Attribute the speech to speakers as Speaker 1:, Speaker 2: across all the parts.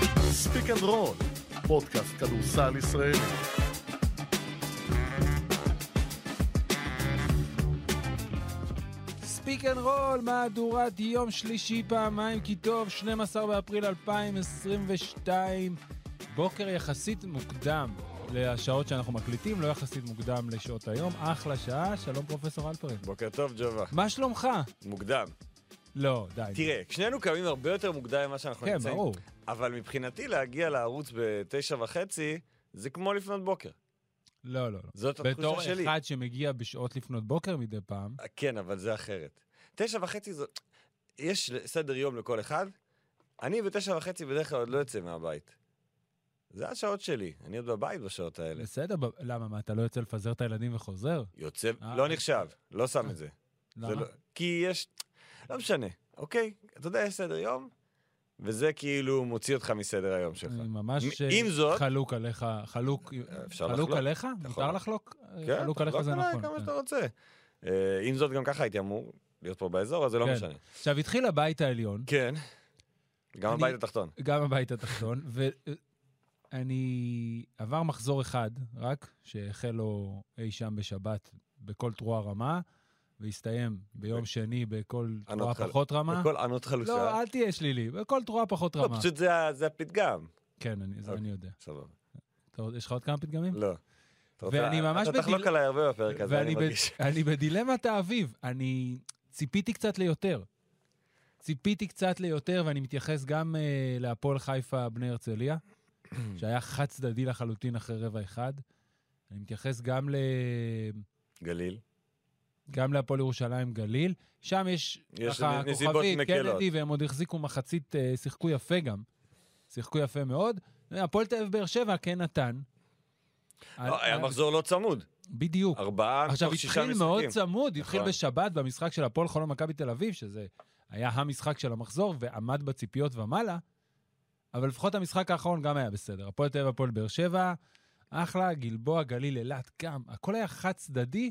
Speaker 1: Rock and Roll, פודקאסט כדורסל ישראלי.
Speaker 2: ספיק אנד רול, מהדורת יום שלישי פעמיים כי טוב, 12 באפריל 2022, בוקר יחסית מוקדם לשעות שאנחנו מקליטים, לא יחסית מוקדם לשעות היום, אחלה שעה, שלום פרופסור אלפרין.
Speaker 3: בוקר טוב, ג'ובה.
Speaker 2: מה שלומך?
Speaker 3: מוקדם.
Speaker 2: לא, די.
Speaker 3: תראה, שנינו קמים הרבה יותר מוקדם ממה שאנחנו
Speaker 2: כן,
Speaker 3: נמצאים.
Speaker 2: ברור.
Speaker 3: אבל מבחינתי להגיע לערוץ בתשע וחצי, זה כמו לפנות בוקר.
Speaker 2: לא, לא, לא.
Speaker 3: זאת
Speaker 2: בתור
Speaker 3: התחושה שלי.
Speaker 2: אחד שמגיע בשעות לפנות בוקר מדי פעם,
Speaker 3: כן, אבל זה אחרת. תשע וחצי זו... יש סדר יום לכל אחד. אני בתשע וחצי בדרך כלל עוד לא יוצא מהבית. זה השעות שלי, אני עוד בבית בשעות האלה.
Speaker 2: בסדר, ב- למה, מה, אתה לא יוצא לפזר את הילדים וחוזר?
Speaker 3: יוצא,
Speaker 2: אה,
Speaker 3: לא נחשב, לא שם את זה. זה
Speaker 2: למה?
Speaker 3: לא, כי יש, לא משנה, אוקיי? אתה יודע, יש סדר יום, וזה כאילו מוציא אותך מסדר היום שלך.
Speaker 2: אני ממש
Speaker 3: עם
Speaker 2: אה,
Speaker 3: זאת-
Speaker 2: חלוק עליך, חלוק,
Speaker 3: אפשר
Speaker 2: חלוק
Speaker 3: לחלוק.
Speaker 2: עליך? מותר
Speaker 3: אתה יכול.
Speaker 2: לחלוק?
Speaker 3: כן,
Speaker 2: חלוק עליך זה
Speaker 3: תחלוק
Speaker 2: נכון.
Speaker 3: עליי כמה
Speaker 2: כן.
Speaker 3: שאתה רוצה. אה, עם זאת, גם ככה הייתי אמור להיות פה באזור, אז זה לא
Speaker 2: כן.
Speaker 3: משנה.
Speaker 2: עכשיו, התחיל הבית העליון,
Speaker 3: כן. גם
Speaker 2: אני-
Speaker 3: הבית התחתון.
Speaker 2: גם הבית התחתון, ואני... עבר מחזור אחד, רק, שהחל לו אי שם בשבת בכל תרועה רמה, והסתיים ביום שני בכל
Speaker 3: ענות
Speaker 2: תרועה
Speaker 3: חל-
Speaker 2: פחות רמה.
Speaker 3: בכל ענות חלושה.
Speaker 2: לא, אל תהיה שלילי, בכל תרועה פחות
Speaker 3: לא,
Speaker 2: רמה.
Speaker 3: פשוט זה ה- זה הפתגם.
Speaker 2: כן, אני- זה
Speaker 3: אוקיי.
Speaker 2: אני יודע.
Speaker 3: סבבה.
Speaker 2: אתה עוד- יש לך עוד כמה פתגמים?
Speaker 3: לא. אתה רוצה-
Speaker 2: ואני ממש
Speaker 3: אתה תחלוק
Speaker 2: בדיל-
Speaker 3: עליי הרבה בפרק הזה, אני
Speaker 2: ואני ב-
Speaker 3: מרגיש.
Speaker 2: אני בדילמת האביב, אני ציפיתי קצת ליותר. ציפיתי קצת ליותר, ואני מתייחס גם uh, להפועל חיפה בני הרצליה, שהיה חד צדדי לחלוטין אחרי רבע אחד. אני מתייחס גם, ל...
Speaker 3: גליל.
Speaker 2: גם להפועל ירושלים גליל. שם יש,
Speaker 3: יש
Speaker 2: ככה
Speaker 3: נ- נסיבות
Speaker 2: כוכבית, כן,
Speaker 3: מקלות.
Speaker 2: קנדי, והם עוד החזיקו מחצית, uh, שיחקו יפה גם. שיחקו יפה מאוד. הפועל תל אביב באר שבע כן נתן. אה,
Speaker 3: לא, היה מחזור לא צמוד.
Speaker 2: בדיוק.
Speaker 3: ארבעה מתוך
Speaker 2: עכשיו,
Speaker 3: שישה
Speaker 2: התחיל מאוד
Speaker 3: משחקים.
Speaker 2: צמוד, התחיל
Speaker 3: נכון.
Speaker 2: בשבת במשחק של הפועל חולון מכבי תל אביב, שזה היה המשחק של המחזור ועמד בציפיות ומעלה, אבל לפחות המשחק האחרון גם היה בסדר. הפועל תל אביב, הפועל באר שבע, אחלה, גלבוע, גליל, אילת, גם. הכל היה חד צדדי,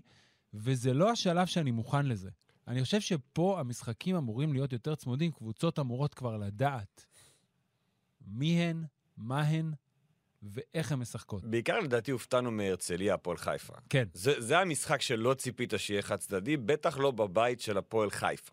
Speaker 2: וזה לא השלב שאני מוכן לזה. אני חושב שפה המשחקים אמורים להיות יותר צמודים, קבוצות אמורות כבר לדעת מי הן, מה הן ואיך הן משחקות.
Speaker 3: בעיקר לדעתי הופתענו מהרצליה, הפועל חיפה.
Speaker 2: כן.
Speaker 3: זה, זה המשחק שלא ציפית שיהיה חד צדדי, בטח לא בבית של הפועל חיפה.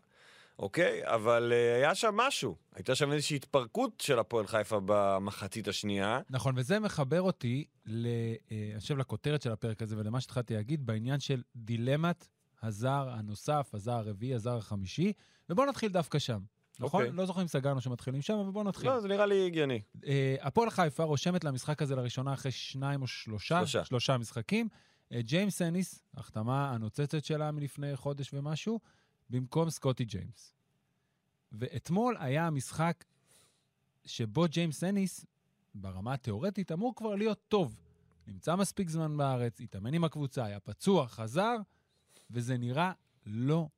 Speaker 3: אוקיי? אבל uh, היה שם משהו. הייתה שם איזושהי התפרקות של הפועל חיפה במחצית השנייה.
Speaker 2: נכון, וזה מחבר אותי, ל- אה, אני חושב, לכותרת של הפרק הזה ולמה שהתחלתי להגיד בעניין של דילמת הזר הנוסף, הזר הרביעי, הזר החמישי, ובואו נתחיל דווקא שם. נכון?
Speaker 3: אוקיי.
Speaker 2: לא זוכר אם סגרנו שמתחילים שם, אבל בואו נתחיל.
Speaker 3: לא, זה נראה לי הגיוני.
Speaker 2: אה, הפועל חיפה רושמת למשחק הזה לראשונה אחרי שניים או שלושה,
Speaker 3: שלושה.
Speaker 2: שלושה משחקים. אה, ג'יימס אניס, החתמה הנוצצת שלה מלפני חודש ומשהו, במקום סקוטי ג'יימס. ואתמול היה המשחק שבו ג'יימס אניס, ברמה התיאורטית, אמור כבר להיות טוב. נמצא מספיק זמן בארץ, התאמן עם הקבוצה, היה פצוע, חזר, וזה נראה לא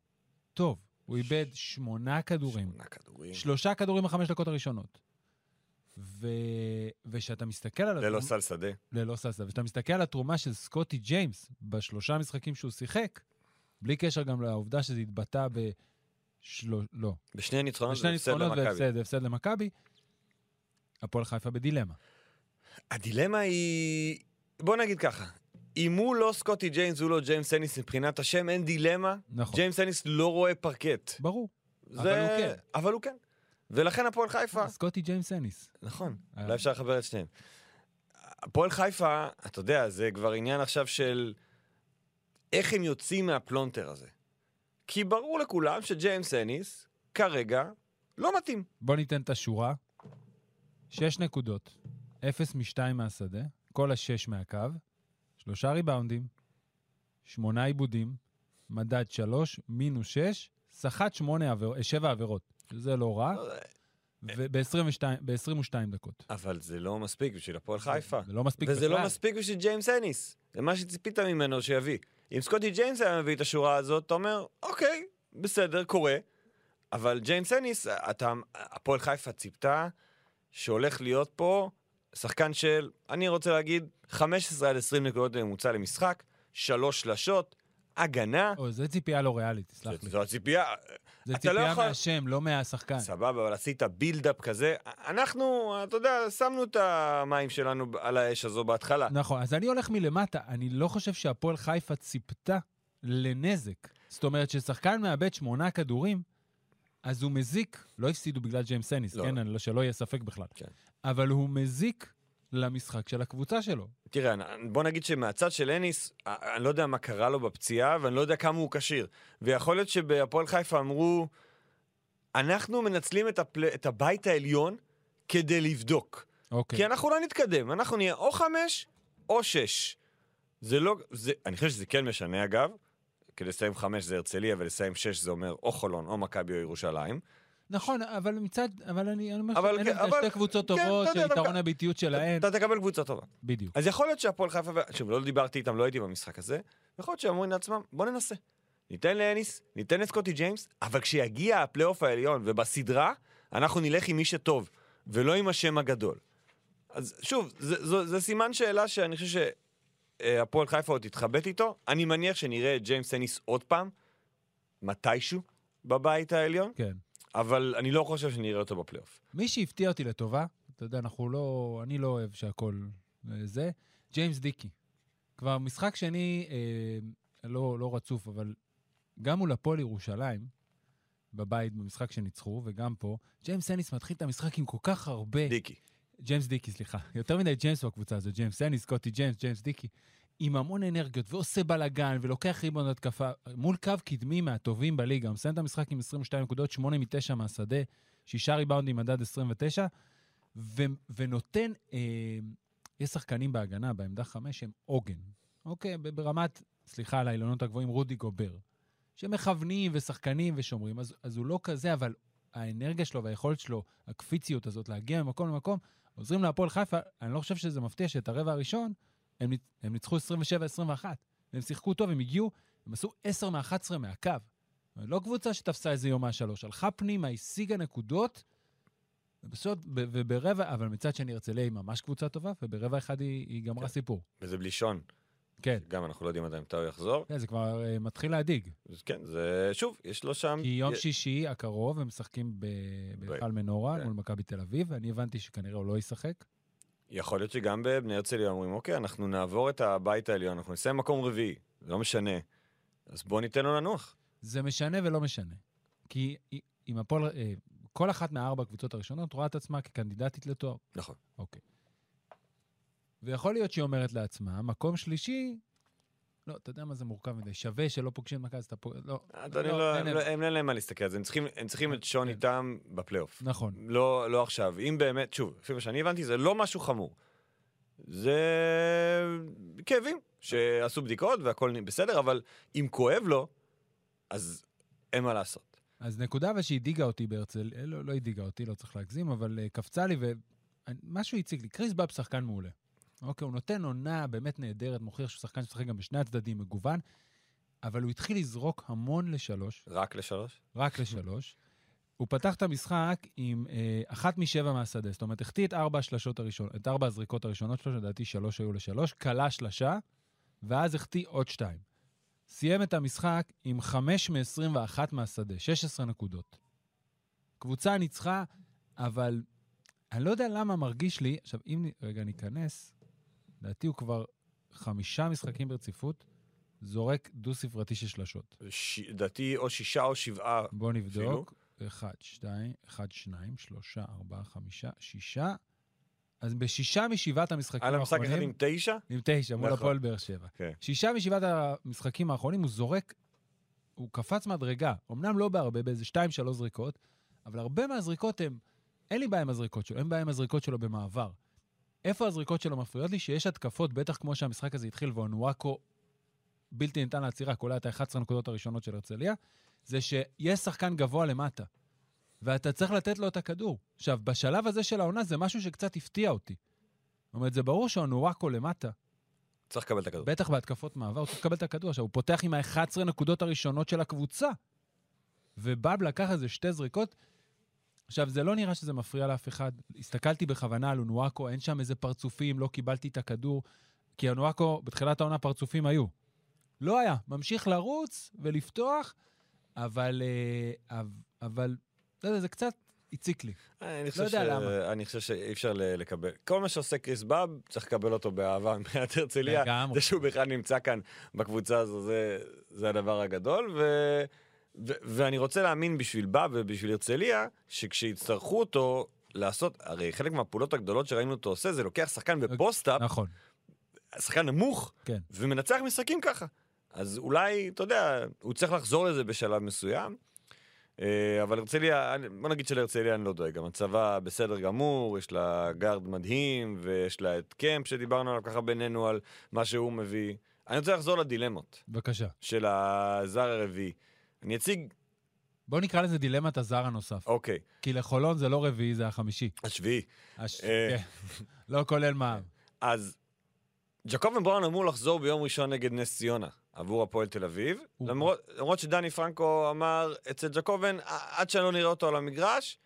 Speaker 2: טוב. הוא איבד שמונה כדורים.
Speaker 3: שמונה כדורים.
Speaker 2: שלושה כדורים בחמש דקות הראשונות. ו... וכשאתה מסתכל על...
Speaker 3: ללא
Speaker 2: התרומ-
Speaker 3: סל שדה.
Speaker 2: ללא סלסה. וכשאתה מסתכל על התרומה של סקוטי ג'יימס בשלושה משחקים שהוא שיחק, בלי קשר גם לעובדה שזה התבטא בשלו... לא.
Speaker 3: בשני ניצחונות
Speaker 2: בשני
Speaker 3: והפסד
Speaker 2: ניצחונות
Speaker 3: אה, למכבי.
Speaker 2: והפסד, והפסד למכבי, הפועל חיפה בדילמה.
Speaker 3: הדילמה היא... בוא נגיד ככה. אם הוא לא סקוטי ג'יימס, הוא לא ג'יימס אניס מבחינת השם, אין דילמה.
Speaker 2: נכון.
Speaker 3: ג'יימס אניס לא רואה פרקט.
Speaker 2: ברור.
Speaker 3: זה...
Speaker 2: אבל הוא כן.
Speaker 3: אבל הוא כן. ולכן הפועל חיפה...
Speaker 2: סקוטי ג'יימס אניס.
Speaker 3: נכון,
Speaker 2: אה.
Speaker 3: אולי אפשר לחבר את שניהם. הפועל חיפה, אתה יודע, זה כבר עניין עכשיו של איך הם יוצאים מהפלונטר הזה. כי ברור לכולם שג'יימס אניס, כרגע, לא מתאים.
Speaker 2: בוא ניתן את השורה. שש נקודות, אפס משתיים מהשדה, כל השש מהקו, שלושה ריבאונדים, שמונה עיבודים, מדד שלוש, מינוס שש, סחט שמונה עביר, אה, שבע עבירות, שזה לא רע, וב-22 דקות.
Speaker 3: אבל זה לא מספיק בשביל הפועל חיפה.
Speaker 2: זה לא מספיק
Speaker 3: וזה
Speaker 2: בכלל.
Speaker 3: לא מספיק בשביל ג'יימס אניס. זה מה שציפית ממנו שיביא. אם סקוטי ג'יימס היה מביא את השורה הזאת, אתה אומר, אוקיי, בסדר, קורה. אבל ג'יימס אניס, אתה, הפועל חיפה ציפתה שהולך להיות פה שחקן של, אני רוצה להגיד, 15 עד 20 נקודות בממוצע למשחק, שלוש שלשות, הגנה.
Speaker 2: אה, או, זו ציפייה לא ריאלית, תסלח לי.
Speaker 3: זו הציפייה.
Speaker 2: זה
Speaker 3: אתה לא
Speaker 2: ציפייה
Speaker 3: יכול-
Speaker 2: מהשם, לא מהשחקן.
Speaker 3: סבבה, אבל עשית בילדאפ כזה. אנחנו, אתה יודע, שמנו את המים שלנו על האש הזו בהתחלה.
Speaker 2: נכון, אז אני הולך מלמטה, אני לא חושב שהפועל חיפה ציפתה לנזק. זאת אומרת, כששחקן מאבד שמונה כדורים, אז הוא מזיק, לא הפסידו בגלל ג'יימס אניס,
Speaker 3: לא.
Speaker 2: כן? אני- שלא יהיה ספק בכלל.
Speaker 3: כן.
Speaker 2: אבל הוא מזיק למשחק של הקבוצה שלו.
Speaker 3: תראה, אני- בוא נגיד שמהצד של אניס, אה, אני לא יודע מה קרה לו בפציעה, ואני לא יודע כמה הוא כשיר. ויכול להיות שבהפועל חיפה אמרו, אנחנו מנצלים את, הפל... את הבית העליון כדי לבדוק.
Speaker 2: אוקיי.
Speaker 3: כן. כי אנחנו לא נתקדם, אנחנו נהיה או חמש או שש. זה לא, זה, אני חושב שזה כן משנה אגב, כי לסיים חמש זה הרצליה ולסיים שש זה אומר או חולון או מכבי או ירושלים.
Speaker 2: נכון, אבל מצד... אבל אני אני אומר
Speaker 3: אבל
Speaker 2: שאין
Speaker 3: כן,
Speaker 2: להם
Speaker 3: אבל-
Speaker 2: שתי קבוצות
Speaker 3: כן,
Speaker 2: טובות,
Speaker 3: אתה יודע, אבל
Speaker 2: שיתרון
Speaker 3: כ-
Speaker 2: הביטיות שלהן.
Speaker 3: אתה תקבל קבוצה טובה.
Speaker 2: בדיוק.
Speaker 3: אז יכול להיות שהפועל חיפה, ו- שוב, לא דיברתי איתם, לא הייתי במשחק הזה, יכול להיות שאמרו לעצמם, בוא ננסה. ניתן לאניס, ניתן לסקוטי ג'יימס, אבל כשיגיע הפלייאוף העליון ובסדרה, אנחנו נלך עם מי שטוב, ולא עם השם הגדול. אז שוב, זה, זה, זה סימן שאלה שאני חושב שהפועל חיפה עוד תתחבט איתו. אני מניח שנראה את ג'יימס אניס עוד פעם, מתישהו, בבית העליון,
Speaker 2: כן.
Speaker 3: אבל אני לא חושב שנראה אותו בפלייאוף.
Speaker 2: מי שהפתיע אותי לטובה, אתה יודע, אנחנו לא, אני לא אוהב שהכל אה, זה, ג'יימס דיקי. כבר משחק שני, אה, לא, לא רצוף, אבל גם מול הפועל ירושלים, בבית, במשחק שניצחו, וגם פה, ג'יימס אניס מתחיל את המשחק עם כל כך הרבה...
Speaker 3: דיקי.
Speaker 2: ג'יימס דיקי, סליחה. יותר מדי ג'יימס בקבוצה הזאת, ג'יימס אניס, סקוטי ג'יימס, ג'יימס דיקי. עם המון אנרגיות, ועושה בלאגן, ולוקח ריבון התקפה, מול קו קדמי מהטובים בליגה. הוא מסיים את המשחק עם 22 נקודות, 8 מ-9 מהשדה, 6 ריבאונדים, מדד 29, ו- ונותן, אה, יש שחקנים בהגנה, בעמדה 5, הם עוגן. אוקיי, ב- ברמת, סליחה על העילונות הגבוהים, רודי גובר. שמכוונים ושחקנים ושומרים, אז, אז הוא לא כזה, אבל האנרגיה שלו והיכולת שלו, הקפיציות הזאת, להגיע ממקום למקום, עוזרים להפועל חיפה, אני לא חושב שזה מפתיע שאת הרבע הראשון, הם, ניצ- הם ניצחו 27-21. הם שיחקו טוב, הם הגיעו, הם עשו 10 מ-11 מהקו. לא קבוצה שתפסה איזה יום מהשלוש, הלכה פנימה, השיגה נקודות, ובסוד, ב- וברבע, אבל מצד שני הרצליה היא ממש קבוצה טובה, וברבע אחד היא, היא גמרה
Speaker 3: כן.
Speaker 2: סיפור.
Speaker 3: וזה בלי שון,
Speaker 2: כן,
Speaker 3: גם אנחנו לא יודעים עדיין מתי הוא יחזור.
Speaker 2: כן, זה כבר אה, מתחיל להדאיג.
Speaker 3: אז כן, זה, שוב, יש לו שם...
Speaker 2: כי יום
Speaker 3: י-
Speaker 2: שישי הקרוב הם משחקים ב- בהיכל מנורה
Speaker 3: כן.
Speaker 2: מול מכבי תל אביב, ואני הבנתי שכנראה הוא לא ישחק.
Speaker 3: יכול להיות שגם בבני הרצליה אומרים, אוקיי, אנחנו נעבור את הבית העליון, אנחנו נסיים מקום רביעי, זה לא משנה. אז בואו ניתן לו לנוח.
Speaker 2: זה משנה ולא משנה. כי אם הפועל, אה, כל אחת מהארבע הקבוצות הראשונות רואה את עצמה כקנדידטית לתואר.
Speaker 3: נכון.
Speaker 2: אוקיי. ויכול להיות שהיא אומרת לעצמה, מקום שלישי, לא, אתה יודע מה זה מורכב מדי, שווה שלא פוגשים את מכבי, אז אתה פוגש, לא.
Speaker 3: אדוני, לא,
Speaker 2: אין
Speaker 3: הם לא-
Speaker 2: להם.
Speaker 3: הם אין להם מה להסתכל על זה, הם צריכים- הם צריכים את
Speaker 2: כן.
Speaker 3: שון איתם בפלייאוף.
Speaker 2: נכון.
Speaker 3: לא לא עכשיו, אם באמת, שוב, לפי מה שאני הבנתי, זה לא משהו חמור. זה כאבים, שעשו בדיקות והכל בסדר, אבל אם כואב לו, אז אין מה לעשות.
Speaker 2: אז נקודה אבל שהדאיגה אותי בהרצל, אה, לא, לא הדאיגה אותי, לא צריך להגזים, אבל אה, קפצה לי ומשהו הציג לי. קריס באב שחקן מעולה. אוקיי, הוא נותן עונה באמת נהדרת, מוכיח שהוא שחקן שמשחק גם בשני הצדדים, מגוון, אבל הוא התחיל לזרוק המון לשלוש,
Speaker 3: רק לשלוש?
Speaker 2: רק לשלוש. הוא פתח את המשחק עם אה, אחת משבע מהשדה, זאת אומרת, החטיא את ארבע השלשות הראשונות, את ארבע הזריקות הראשונות שלו, שלדעתי שלוש היו לשלוש, כלה שלשה, ואז החטיא עוד שתיים. סיים את המשחק עם חמש מ-21 מהשדה, 16 נקודות. קבוצה ניצחה, אבל אני לא יודע למה מרגיש לי, עכשיו, אם נ- רגע ניכנס, לדעתי הוא כבר חמישה משחקים ברציפות, זורק דו-ספרתי של שלשות.
Speaker 3: ש- לדעתי או שישה או שבעה.
Speaker 2: בוא נבדוק. אחד, שתיים, אחד, שניים, שלושה, ארבעה, חמישה, שישה. אז בשישה משבעת המשחקים
Speaker 3: היה להם משחק אחד
Speaker 2: האחרונים,
Speaker 3: עם תשע?
Speaker 2: עם תשע, מול
Speaker 3: נכון.
Speaker 2: הפועל באר שבע.
Speaker 3: כן.
Speaker 2: שישה משבעת המשחקים האחרונים, הוא זורק, הוא קפץ מדרגה. אמנם לא בהרבה, באיזה שתיים, שלוש זריקות, אבל הרבה מהזריקות הם, אין לי בעיה עם הזריקות שלו, אין בעיה עם הזריקות שלו במעבר. איפה הזריקות שלו מפריעות לי? שיש התקפות, בטח כמו שהמשחק הזה התחיל, ואונואקו בלתי ניתן לעצירה, כולל את ה-11 הנקודות הראשונות של הרצליה, זה שיש שחקן גבוה למטה, ואתה צריך לתת לו את הכדור. עכשיו, בשלב הזה של העונה זה משהו שקצת הפתיע אותי. זאת אומרת, זה ברור שאונואקו למטה,
Speaker 3: צריך לקבל את הכדור.
Speaker 2: בטח בהתקפות מעבר, הוא צריך לקבל את הכדור. עכשיו, הוא פותח עם ה-11 נקודות הראשונות של הקבוצה. ובאב לקח איזה שתי זריקות. עכשיו, זה לא נראה שזה מפריע לאף אחד. הסתכלתי בכוונה על אונואקו, אין שם איזה פרצופים, לא קיבלתי את הכדור. כי אונואקו, בתחילת העונה פרצופים היו. לא היה. ממשיך לרוץ ולפתוח, אבל, אה, אב- אבל, לא יודע, זה קצת הציק לי.
Speaker 3: אני חושב
Speaker 2: לא יודע
Speaker 3: ש-
Speaker 2: למה.
Speaker 3: אני חושב שאי אפשר ל- לקבל. כל מה שעושה קריס באב, צריך לקבל אותו באהבה מעיריית הרצליה.
Speaker 2: לגמרי.
Speaker 3: זה שהוא בכלל נמצא כאן בקבוצה הזו, זה, זה הדבר הגדול. ו, ו, ואני רוצה להאמין בשביל באב ובשביל הרצליה, שכשיצטרכו אותו לעשות, הרי חלק מהפעולות הגדולות שראינו אותו עושה, זה לוקח שחקן בפוסט-אפ,
Speaker 2: נכון.
Speaker 3: שחקן נמוך,
Speaker 2: כן.
Speaker 3: ומנצח משחקים ככה. אז אולי, אתה יודע, הוא צריך לחזור לזה בשלב מסוים. אה, אבל הרצליה, אני- בוא נגיד שלהרצליה אני לא דואג, גם הצבא בסדר גמור, יש לה גארד מדהים, ויש לה את קמפ שדיברנו עליו ככה בינינו, על מה שהוא מביא. אני רוצה לחזור לדילמות
Speaker 2: בבקשה.
Speaker 3: של הזר הרביעי. אני אציג,
Speaker 2: בואו נקרא לזה דילמת הזר הנוסף.
Speaker 3: אוקיי,
Speaker 2: כי לחולון זה לא רביעי, זה החמישי.
Speaker 3: השביעי.
Speaker 2: הש-
Speaker 3: אה.
Speaker 2: כן. לא כולל מע"מ.
Speaker 3: אז ג'קובן בראון אמור לחזור ביום ראשון נגד נס ציונה עבור הפועל תל אביב,
Speaker 2: הוא-
Speaker 3: למרות, למרות שדני פרנקו אמר אצל ג'קובן, "ע- עד שלא נראה אותו על המגרש,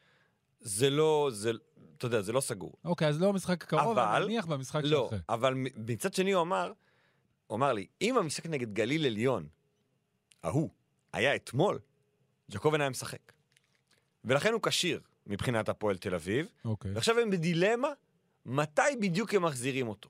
Speaker 3: זה לא, זה, אתה יודע, זה לא סגור.
Speaker 2: אוקיי, אז לא במשחק הקרוב, אבל
Speaker 3: אבל-
Speaker 2: נניח במשחק
Speaker 3: לא,
Speaker 2: שאחרי.
Speaker 3: אבל מ- מצד שני הוא אמר, הוא אמר לי, אם המשחק נגד גליל עליון, ההוא, היה אתמול, ג'קובן היה משחק. ולכן הוא כשיר מבחינת הפועל תל אביב,
Speaker 2: אוקיי.
Speaker 3: ועכשיו הם בדילמה מתי בדיוק הם מחזירים אותו.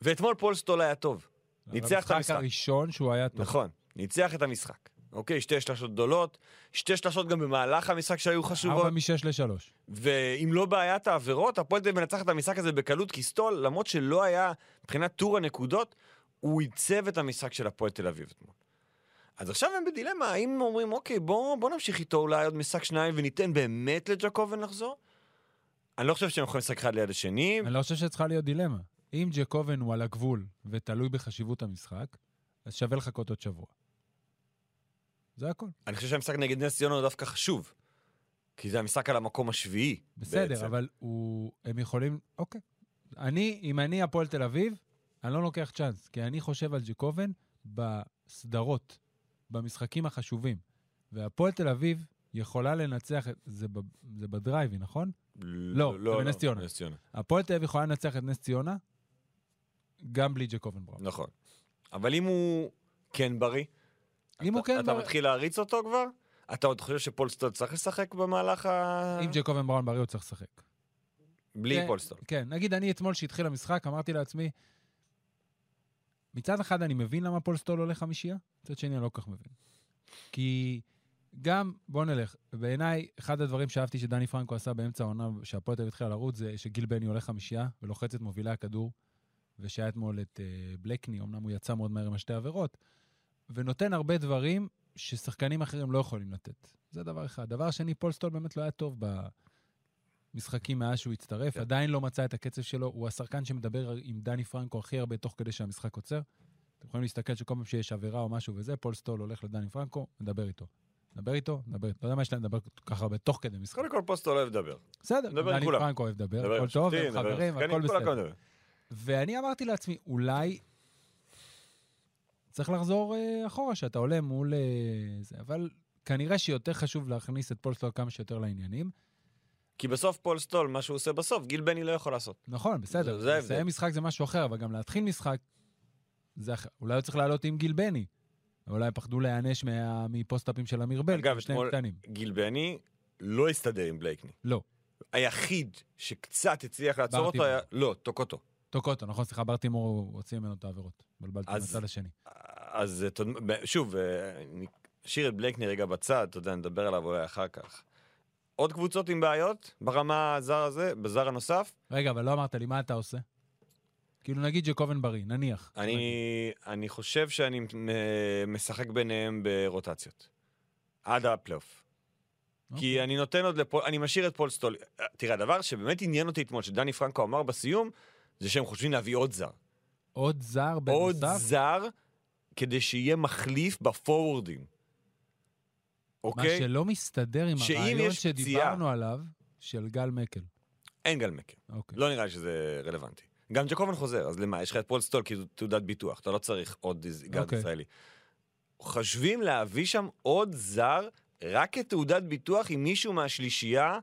Speaker 3: ואתמול פולסטול היה טוב. ניצח את
Speaker 2: המשחק
Speaker 3: המשחק.
Speaker 2: הראשון שהוא היה טוב.
Speaker 3: נכון, ניצח את המשחק. אוקיי, שתי שלשות גדולות, שתי שלשות גם במהלך המשחק שהיו
Speaker 2: ארבע
Speaker 3: חשובות,
Speaker 2: משש לשלוש.
Speaker 3: ואם לא בעיית העבירות, הפועל תל אביב מנצח את המשחק הזה בקלות, כי סטול, למרות שלא היה מבחינת טור הנקודות, הוא עיצב את המשחק של הפועל תל אביב אתמול. אז עכשיו הם בדילמה, האם אומרים, אוקיי, בוא, בוא נמשיך איתו אולי עוד משחק שניים וניתן באמת לג'קובן לחזור? אני לא חושב שהם יכולים לשחק אחד ליד השני,
Speaker 2: אני לא חושב שצריכה להיות דילמה. אם ג'קובן הוא על הגבול ותלוי בחשיבות המשחק, אז שווה לחכות עוד שבוע. זה הכל.
Speaker 3: אני חושב שהמשחק נגד נס ציונה הוא דווקא חשוב. כי זה המשחק על המקום השביעי. בעצם.
Speaker 2: בסדר, אבל הוא... הם יכולים... אוקיי. אני, אם אני הפועל תל אביב, אני לא לוקח צ'אנס, כי אני חושב על ג'קובן בסדרות, במשחקים החשובים. והפועל תל אביב יכולה לנצח... את- זה, ב, זה בדרייבי, נכון? לא, זה בנס ציונה.
Speaker 3: נס ציונה.
Speaker 2: הפועל תל אביב יכולה לנצח את נס ציונה, גם בלי ג'קובן בראון.
Speaker 3: נכון. אבל אם הוא כן בריא,
Speaker 2: אם הוא
Speaker 3: אתה-
Speaker 2: כן...
Speaker 3: אתה
Speaker 2: בריא-
Speaker 3: מתחיל להריץ אותו כבר? אתה עוד חושב שפולסטון צריך לשחק במהלך ה...
Speaker 2: אם ג'קובן בראון בריא, הוא צריך לשחק.
Speaker 3: בלי
Speaker 2: כן,
Speaker 3: פולסטון.
Speaker 2: כן, נגיד אני אתמול שהתחיל המשחק, אמרתי לעצמי, מצד אחד אני מבין למה פולסטול עולה חמישייה, מצד שני אני לא כל כך מבין. כי גם, בוא נלך, בעיניי, אחד הדברים שאהבתי שדני פרנקו עשה באמצע העונה, שהפועל תל אביב התחילה לרוץ, זה שגיל בני עולה חמישייה ולוחץ את מובילי הכדור, ושהיה אתמול את אה, בלקני, אמנם הוא יצא מאוד מהר עם השתי עבירות, ונותן הרבה דברים ששחקנים אחרים לא יכולים לתת. זה דבר אחד. דבר שני, פולסטול באמת לא היה טוב במשחקים מאז שהוא הצטרף,
Speaker 3: כן.
Speaker 2: עדיין לא מצא את הקצב שלו, הוא השחקן שמדבר עם דני פרנקו הכי הרבה תוך כדי שהמשחק עוצר. אתם יכולים להסתכל שכל פעם שיש עבירה או משהו וזה, פולסטול הולך לדני פרנקו, מדבר איתו. מדבר איתו, מדבר איתו. לא יודע מה יש להם לדבר כל כך הרבה תוך כדי משחק.
Speaker 3: קודם כל פולסטון לא אוהב לדבר.
Speaker 2: בסדר,
Speaker 3: מדבר עם
Speaker 2: דני
Speaker 3: כולם.
Speaker 2: פרנקו אוהב לדבר,
Speaker 3: מדבר עם
Speaker 2: כן, הכל טוב,
Speaker 3: שופטים,
Speaker 2: הם
Speaker 3: מדבר עם
Speaker 2: חברים,
Speaker 3: שחקנים,
Speaker 2: הכל
Speaker 3: כולם
Speaker 2: בסדר.
Speaker 3: מדבר.
Speaker 2: ואני אמרתי לעצמי, אולי צריך לחזור אה, אחורה, שאתה עולה מול אה, זה, אבל כנראה שיותר חשוב להכניס את פולסטול כמה שיותר לעניינים.
Speaker 3: כי בסוף פולסטון, מה שהוא עושה בסוף, גיל בני לא יכול לעשות.
Speaker 2: נכון, בסדר,
Speaker 3: זה- זה ההבדל.
Speaker 2: לסיים משחק זה משהו אחר, אבל גם להתחיל משחק, זה אחר. אולי הוא צריך לעלות עם גיל בני. אולי פחדו להיענש מה- מפוסט-אפים של אמיר בל,
Speaker 3: אגב,
Speaker 2: כי שניהם
Speaker 3: אתמול-
Speaker 2: קטנים.
Speaker 3: גיל בני לא הסתדר עם בלייקני.
Speaker 2: לא.
Speaker 3: היחיד שקצת הצליח לעצור
Speaker 2: ברטימור.
Speaker 3: אותו היה... לא, טוקוטו.
Speaker 2: טוקוטו, נכון, סליחה, ברטימור הוציא ממנו את העבירות. בלבלתי
Speaker 3: אז-
Speaker 2: מהצד השני.
Speaker 3: אז אתה יודע, ב- שוב, אה, נשאיר את בלקני רגע בצד, אתה יודע, נדבר עליו אולי אחר כך. עוד קבוצות עם בעיות ברמה הזר הזה, בזר הנוסף?
Speaker 2: רגע, אבל לא אמרת לי, מה אתה עושה? כאילו, נגיד ג'קובן בריא, נניח.
Speaker 3: אני, אני חושב שאני אה, משחק ביניהם ברוטציות. עד הפלייאוף.
Speaker 2: אוקיי.
Speaker 3: כי אני נותן עוד לפול, אני משאיר את פול סטול. אה, תראה, הדבר שבאמת עניין אותי אתמול, שדני פרנקו אמר בסיום, זה שהם חושבים להביא עוד זר.
Speaker 2: עוד זר
Speaker 3: עוד
Speaker 2: בנוסף?
Speaker 3: זר, כדי שיהיה מחליף בפורורדים.
Speaker 2: מה
Speaker 3: אוקיי?
Speaker 2: שלא מסתדר עם
Speaker 3: שאם
Speaker 2: הרעיון
Speaker 3: יש פציעה-
Speaker 2: שדיברנו עליו, של גל מקל.
Speaker 3: אין גל מקר.
Speaker 2: אוקיי.
Speaker 3: לא נראה לי שזה רלוונטי. גם ג'קובן חוזר, אז למה? יש לך את פול סטול כאילו תעודת ביטוח, אתה לא צריך עוד איז- גארד
Speaker 2: אוקיי.
Speaker 3: ישראלי. חושבים להביא שם עוד זר רק כתעודת ביטוח עם מישהו מהשלישייה,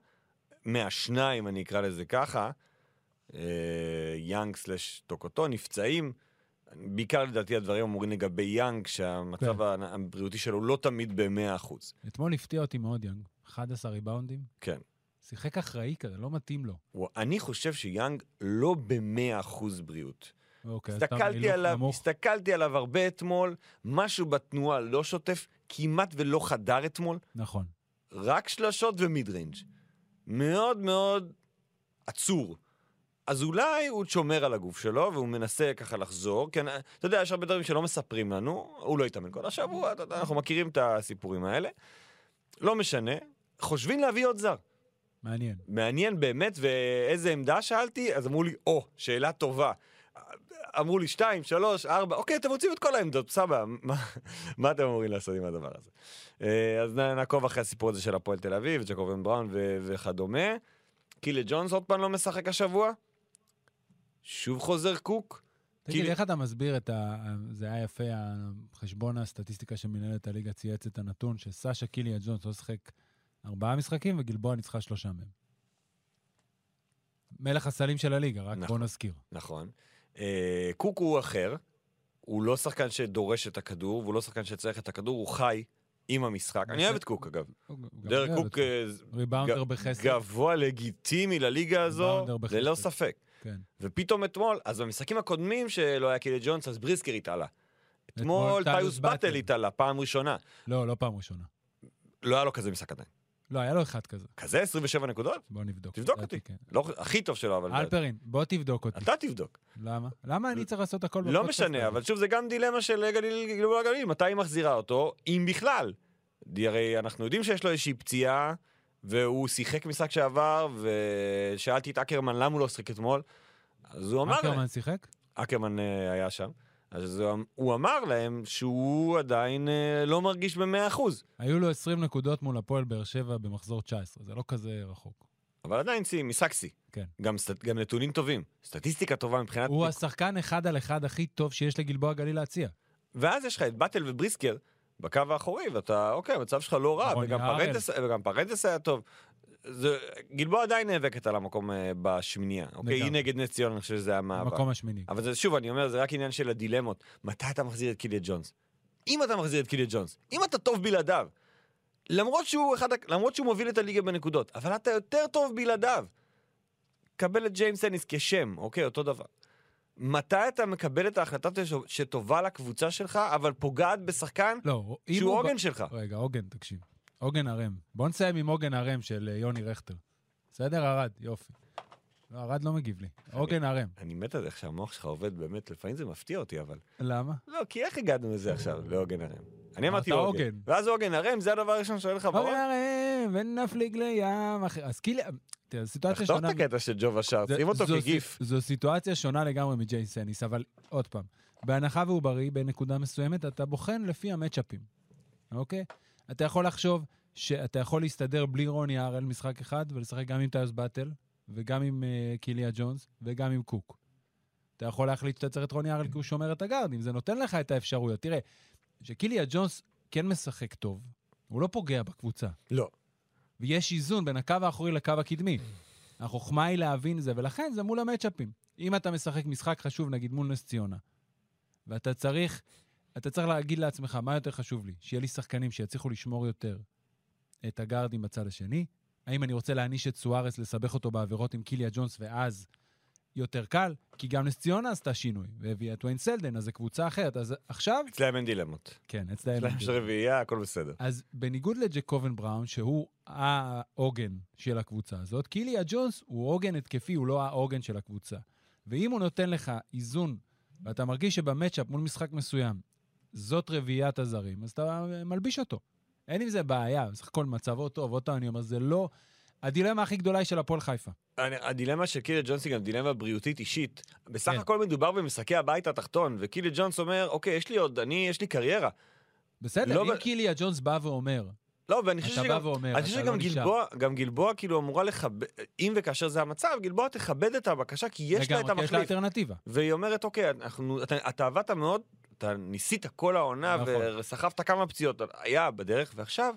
Speaker 3: מהשניים, אני אקרא לזה ככה, אה, יאנג סלש טוקוטו, נפצעים. בעיקר לדעתי הדברים אמורים לגבי יאנג, שהמצב
Speaker 2: כן.
Speaker 3: ה- הבריאותי שלו לא תמיד ב-100%.
Speaker 2: אתמול הפתיע אותי מאוד יאנג. 11 ריבאונדים.
Speaker 3: כן.
Speaker 2: שיחק אחראי כזה, לא מתאים לו.
Speaker 3: הוא- אני חושב שיאנג לא ב-100% בריאות.
Speaker 2: אוקיי, אז אתה
Speaker 3: הסתכלתי
Speaker 2: בהילוך
Speaker 3: עליו,
Speaker 2: נמוך.
Speaker 3: הסתכלתי עליו הרבה אתמול, משהו בתנועה לא שוטף, כמעט ולא חדר אתמול,
Speaker 2: נכון.
Speaker 3: רק שלשות ומיד ריינג'. מאוד מאוד עצור. אז אולי הוא שומר על הגוף שלו, והוא מנסה ככה לחזור, כי אני- אתה יודע, יש הרבה דברים שלא מספרים לנו, הוא לא התאמן כל השבוע, אתה יודע, אנחנו מכירים את הסיפורים האלה. לא משנה, חושבים להביא עוד זר.
Speaker 2: מעניין.
Speaker 3: מעניין באמת, ואיזה עמדה שאלתי? אז אמרו לי, או, שאלה טובה. אמרו לי, שתיים, שלוש, ארבע, אוקיי, אתם רוצים את כל העמדות, סבא, מה, מה אתם אמורים לעשות עם הדבר הזה? אה, אז נ- נעקוב אחרי הסיפור הזה של הפועל תל אביב, ג'קובן בראון ו- וכדומה. קילה ג'ונס עוד פעם לא משחק השבוע. שוב חוזר קוק.
Speaker 2: תגיד,
Speaker 3: כאילו-
Speaker 2: איך אתה מסביר את ה... זה היה יפה, חשבון הסטטיסטיקה של מנהלת הליגה צייץ את הנתון שסשה קיליה ג'ונס לא שיחק ארבעה משחקים וגלבוע ניצחה שלושה מהם. מלך הסלים של הליגה, רק בוא
Speaker 3: נכון.
Speaker 2: נזכיר.
Speaker 3: נכון. אה, קוק הוא אחר, הוא לא שחקן שדורש את הכדור, והוא לא שחקן שצריך את הכדור, הוא חי עם המשחק. אני אוהב את קוק, אגב.
Speaker 2: הוא גם- הוא גם
Speaker 3: דרק
Speaker 2: יודע
Speaker 3: קוק
Speaker 2: זאת.
Speaker 3: אה,
Speaker 2: ריבאונדר
Speaker 3: ג-
Speaker 2: בחסד.
Speaker 3: גבוה לגיטימי לליגה הזו,
Speaker 2: ריבאונדר בחסד.
Speaker 3: ללא ספק.
Speaker 2: כן.
Speaker 3: ופתאום אתמול, אז במשחקים הקודמים שלא היה קילי ג'ונס, אז בריסקר התעלה.
Speaker 2: אתמול
Speaker 3: אתמול
Speaker 2: טיוס
Speaker 3: טיוס
Speaker 2: באטל.
Speaker 3: באטל התעלה, פעם ראשונה.
Speaker 2: לא, לא פעם ראשונה.
Speaker 3: לא היה לו כזה משחק עדיין.
Speaker 2: לא, היה לו אחד כזה.
Speaker 3: כזה 27 נקודות?
Speaker 2: בוא נבדוק.
Speaker 3: תבדוק
Speaker 2: לדעתי,
Speaker 3: אותי.
Speaker 2: כן.
Speaker 3: לא, הכי טוב שלו, אבל...
Speaker 2: אלפרין, בוא תבדוק אותי.
Speaker 3: אתה תבדוק.
Speaker 2: למה? למה אני צריך לעשות הכל
Speaker 3: לא
Speaker 2: בפודקאסט הזה?
Speaker 3: משנה, אבל שוב, זה גם דילמה של גליל גלבוע הגליל, מתי היא מחזירה אותו, אם בכלל. די- הרי אנחנו יודעים שיש לו איזושהי פציעה, והוא שיחק משחק שעבר, ושאלתי את אקרמן למה הוא לא שיחק אתמול, אז הוא אמר...
Speaker 2: אקרמן שיחק?
Speaker 3: אקרמן אה, היה שם, אז הוא- הוא אמר להם שהוא עדיין אה, לא מרגיש ב-100%,
Speaker 2: היו לו 20 נקודות מול הפועל באר שבע במחזור 19, זה לא כזה רחוק.
Speaker 3: אבל עדיין שיא, משחק שיא.
Speaker 2: כן.
Speaker 3: גם, סט- גם נתונים טובים, סטטיסטיקה טובה מבחינת...
Speaker 2: הוא השחקן אחד על אחד הכי טוב שיש לגלבוע גליל להציע.
Speaker 3: ואז יש לך את באטל ובריסקר בקו האחורי, ואתה, אוקיי, המצב שלך לא רע,
Speaker 2: רוני
Speaker 3: וגם
Speaker 2: הראל.
Speaker 3: פרנדס, וגם פרנדס היה טוב. זה, גלבוע עדיין נאבקת על המקום אה, בשמינייה, אוקיי? היא
Speaker 2: לגמרי.
Speaker 3: נגד נס ציון, אני חושב שזה המאבק.
Speaker 2: במקום השמיני.
Speaker 3: אבל זה, שוב, אני אומר, זה רק עניין של הדילמות. מתי אתה מחזיר את קיליאן ג'ונס? אם אתה מחזיר את קיליאן ג'ונס, אם אתה טוב בלעדיו, למרות שהוא, אחד, ה- למרות שהוא מוביל את הליגה בנקודות, אבל אתה יותר טוב בלעדיו. קבל את ג'יימס אניס כשם, אוקיי? אותו דבר. מתי אתה מקבל את ההחלטה ש- שטובה לקבוצה שלך, אבל פוגעת בשחקן
Speaker 2: לא, אם
Speaker 3: שהוא
Speaker 2: הוא...
Speaker 3: עוגן שלך?
Speaker 2: רגע, עוגן, תקשיב. עוגן הרם. בוא נסיים עם עוגן הרם של אה, יוני רכטר. בסדר, ארד? יופי. לא, ארד לא מגיב לי. עוגן הרם.
Speaker 3: אני מת על איך שהמוח שלך עובד, באמת, לפעמים זה מפתיע אותי, אבל...
Speaker 2: למה?
Speaker 3: לא, כי איך הגענו לזה עכשיו, לעוגן הרם? אני אמרתי
Speaker 2: אמרת
Speaker 3: עוגן.
Speaker 2: עוגן.
Speaker 3: ואז עוגן הרם, זה הדבר הראשון שעולה לך בראש?
Speaker 2: עוגן הרם, ונפליג לים. אחי. אז כאילו, תראה, סיטואציה
Speaker 3: תחתוך
Speaker 2: שונה...
Speaker 3: את הקטע של ג'ובה שרץ,
Speaker 2: זה-
Speaker 3: שים אותו
Speaker 2: זו
Speaker 3: כגיף.
Speaker 2: סיט- זו סיטואציה שונה לגמרי מג'יי סניס, אבל עוד פעם, בהנחה והוא בריא, בנקודה מסוימת, אתה בוחן לפי המצ'אפים, אוקיי? אתה יכול לחשוב שאתה יכול להסתדר בלי רוני הראל משחק אחד, ולשחק גם עם טיוס באטל, וגם עם uh, קיליה ג'ונס, וגם עם קוק. אתה יכול להחליט שאתה צריך את רוני הראל כי הוא שומר את הגארדים, זה נותן לך את האפשרויות. תראה, שקיליה ג'ונס כן משחק טוב, הוא לא פוגע בקבוצה.
Speaker 3: לא.
Speaker 2: ויש איזון בין הקו האחורי לקו הקדמי. החוכמה היא להבין זה, ולכן זה מול המצ'אפים. אם אתה משחק משחק חשוב, נגיד מול נס ציונה, ואתה צריך, אתה צריך להגיד לעצמך, מה יותר חשוב לי? שיהיה לי שחקנים שיצליחו לשמור יותר את הגארדים בצד השני? האם אני רוצה להעניש את סוארס, לסבך אותו בעבירות עם קיליה ג'ונס, ואז יותר קל? כי גם נס ציונה עשתה שינוי, והביאה את ויין סלדן, אז זו קבוצה אחרת. אז עכשיו,
Speaker 3: אצלהם אין דילמות.
Speaker 2: כן, אצלהם...
Speaker 3: אצלהם
Speaker 2: אין
Speaker 3: יש
Speaker 2: דילמה.
Speaker 3: רביעייה, הכל בסדר.
Speaker 2: אז בניגוד לג'קובן בראון, שהוא העוגן של הקבוצה הזאת, קיליה ג'ונס הוא עוגן התקפי, הוא לא העוגן של הקבוצה. ואם הוא נותן לך איזון, ואתה מרגיש שבמצ'אפ מול משחק מסוים, זאת רביעיית הזרים, אז אתה מלביש אותו. אין עם זה בעיה, בסך הכל מצבו טוב, עוד פעם אני אומר, זה לא... הדילמה הכי גדולה היא של הפועל חיפה.
Speaker 3: אני- הדילמה של קילי ג'ונס היא גם דילמה בריאותית אישית. בסך
Speaker 2: כן.
Speaker 3: הכל מדובר במשחקי הבית התחתון, וקילי ג'ונס אומר, אוקיי, יש לי עוד, אני, יש לי קריירה.
Speaker 2: בסדר,
Speaker 3: לא
Speaker 2: אם
Speaker 3: ב-
Speaker 2: קיליה ג'ונס בא ואומר,
Speaker 3: לא, ואני חושב
Speaker 2: אתה בא
Speaker 3: שגם...
Speaker 2: ואומר,
Speaker 3: אני חושב
Speaker 2: אתה לא
Speaker 3: שגם
Speaker 2: נשאר.
Speaker 3: גלבוע, גם גלבוע כאילו אמורה לכבד, אם וכאשר זה המצב, גלבוע תכבד את הבקשה, כי יש לה את
Speaker 2: לגמרי, כי יש לה
Speaker 3: המחליף.
Speaker 2: אלטרנטיבה.
Speaker 3: והיא אומרת, אוקיי, אנחנו, אתה, אתה עבדת מאוד, אתה ניסית כל העונה
Speaker 2: נכון.
Speaker 3: וסחבת כמה פציעות, היה בדרך, ועכשיו,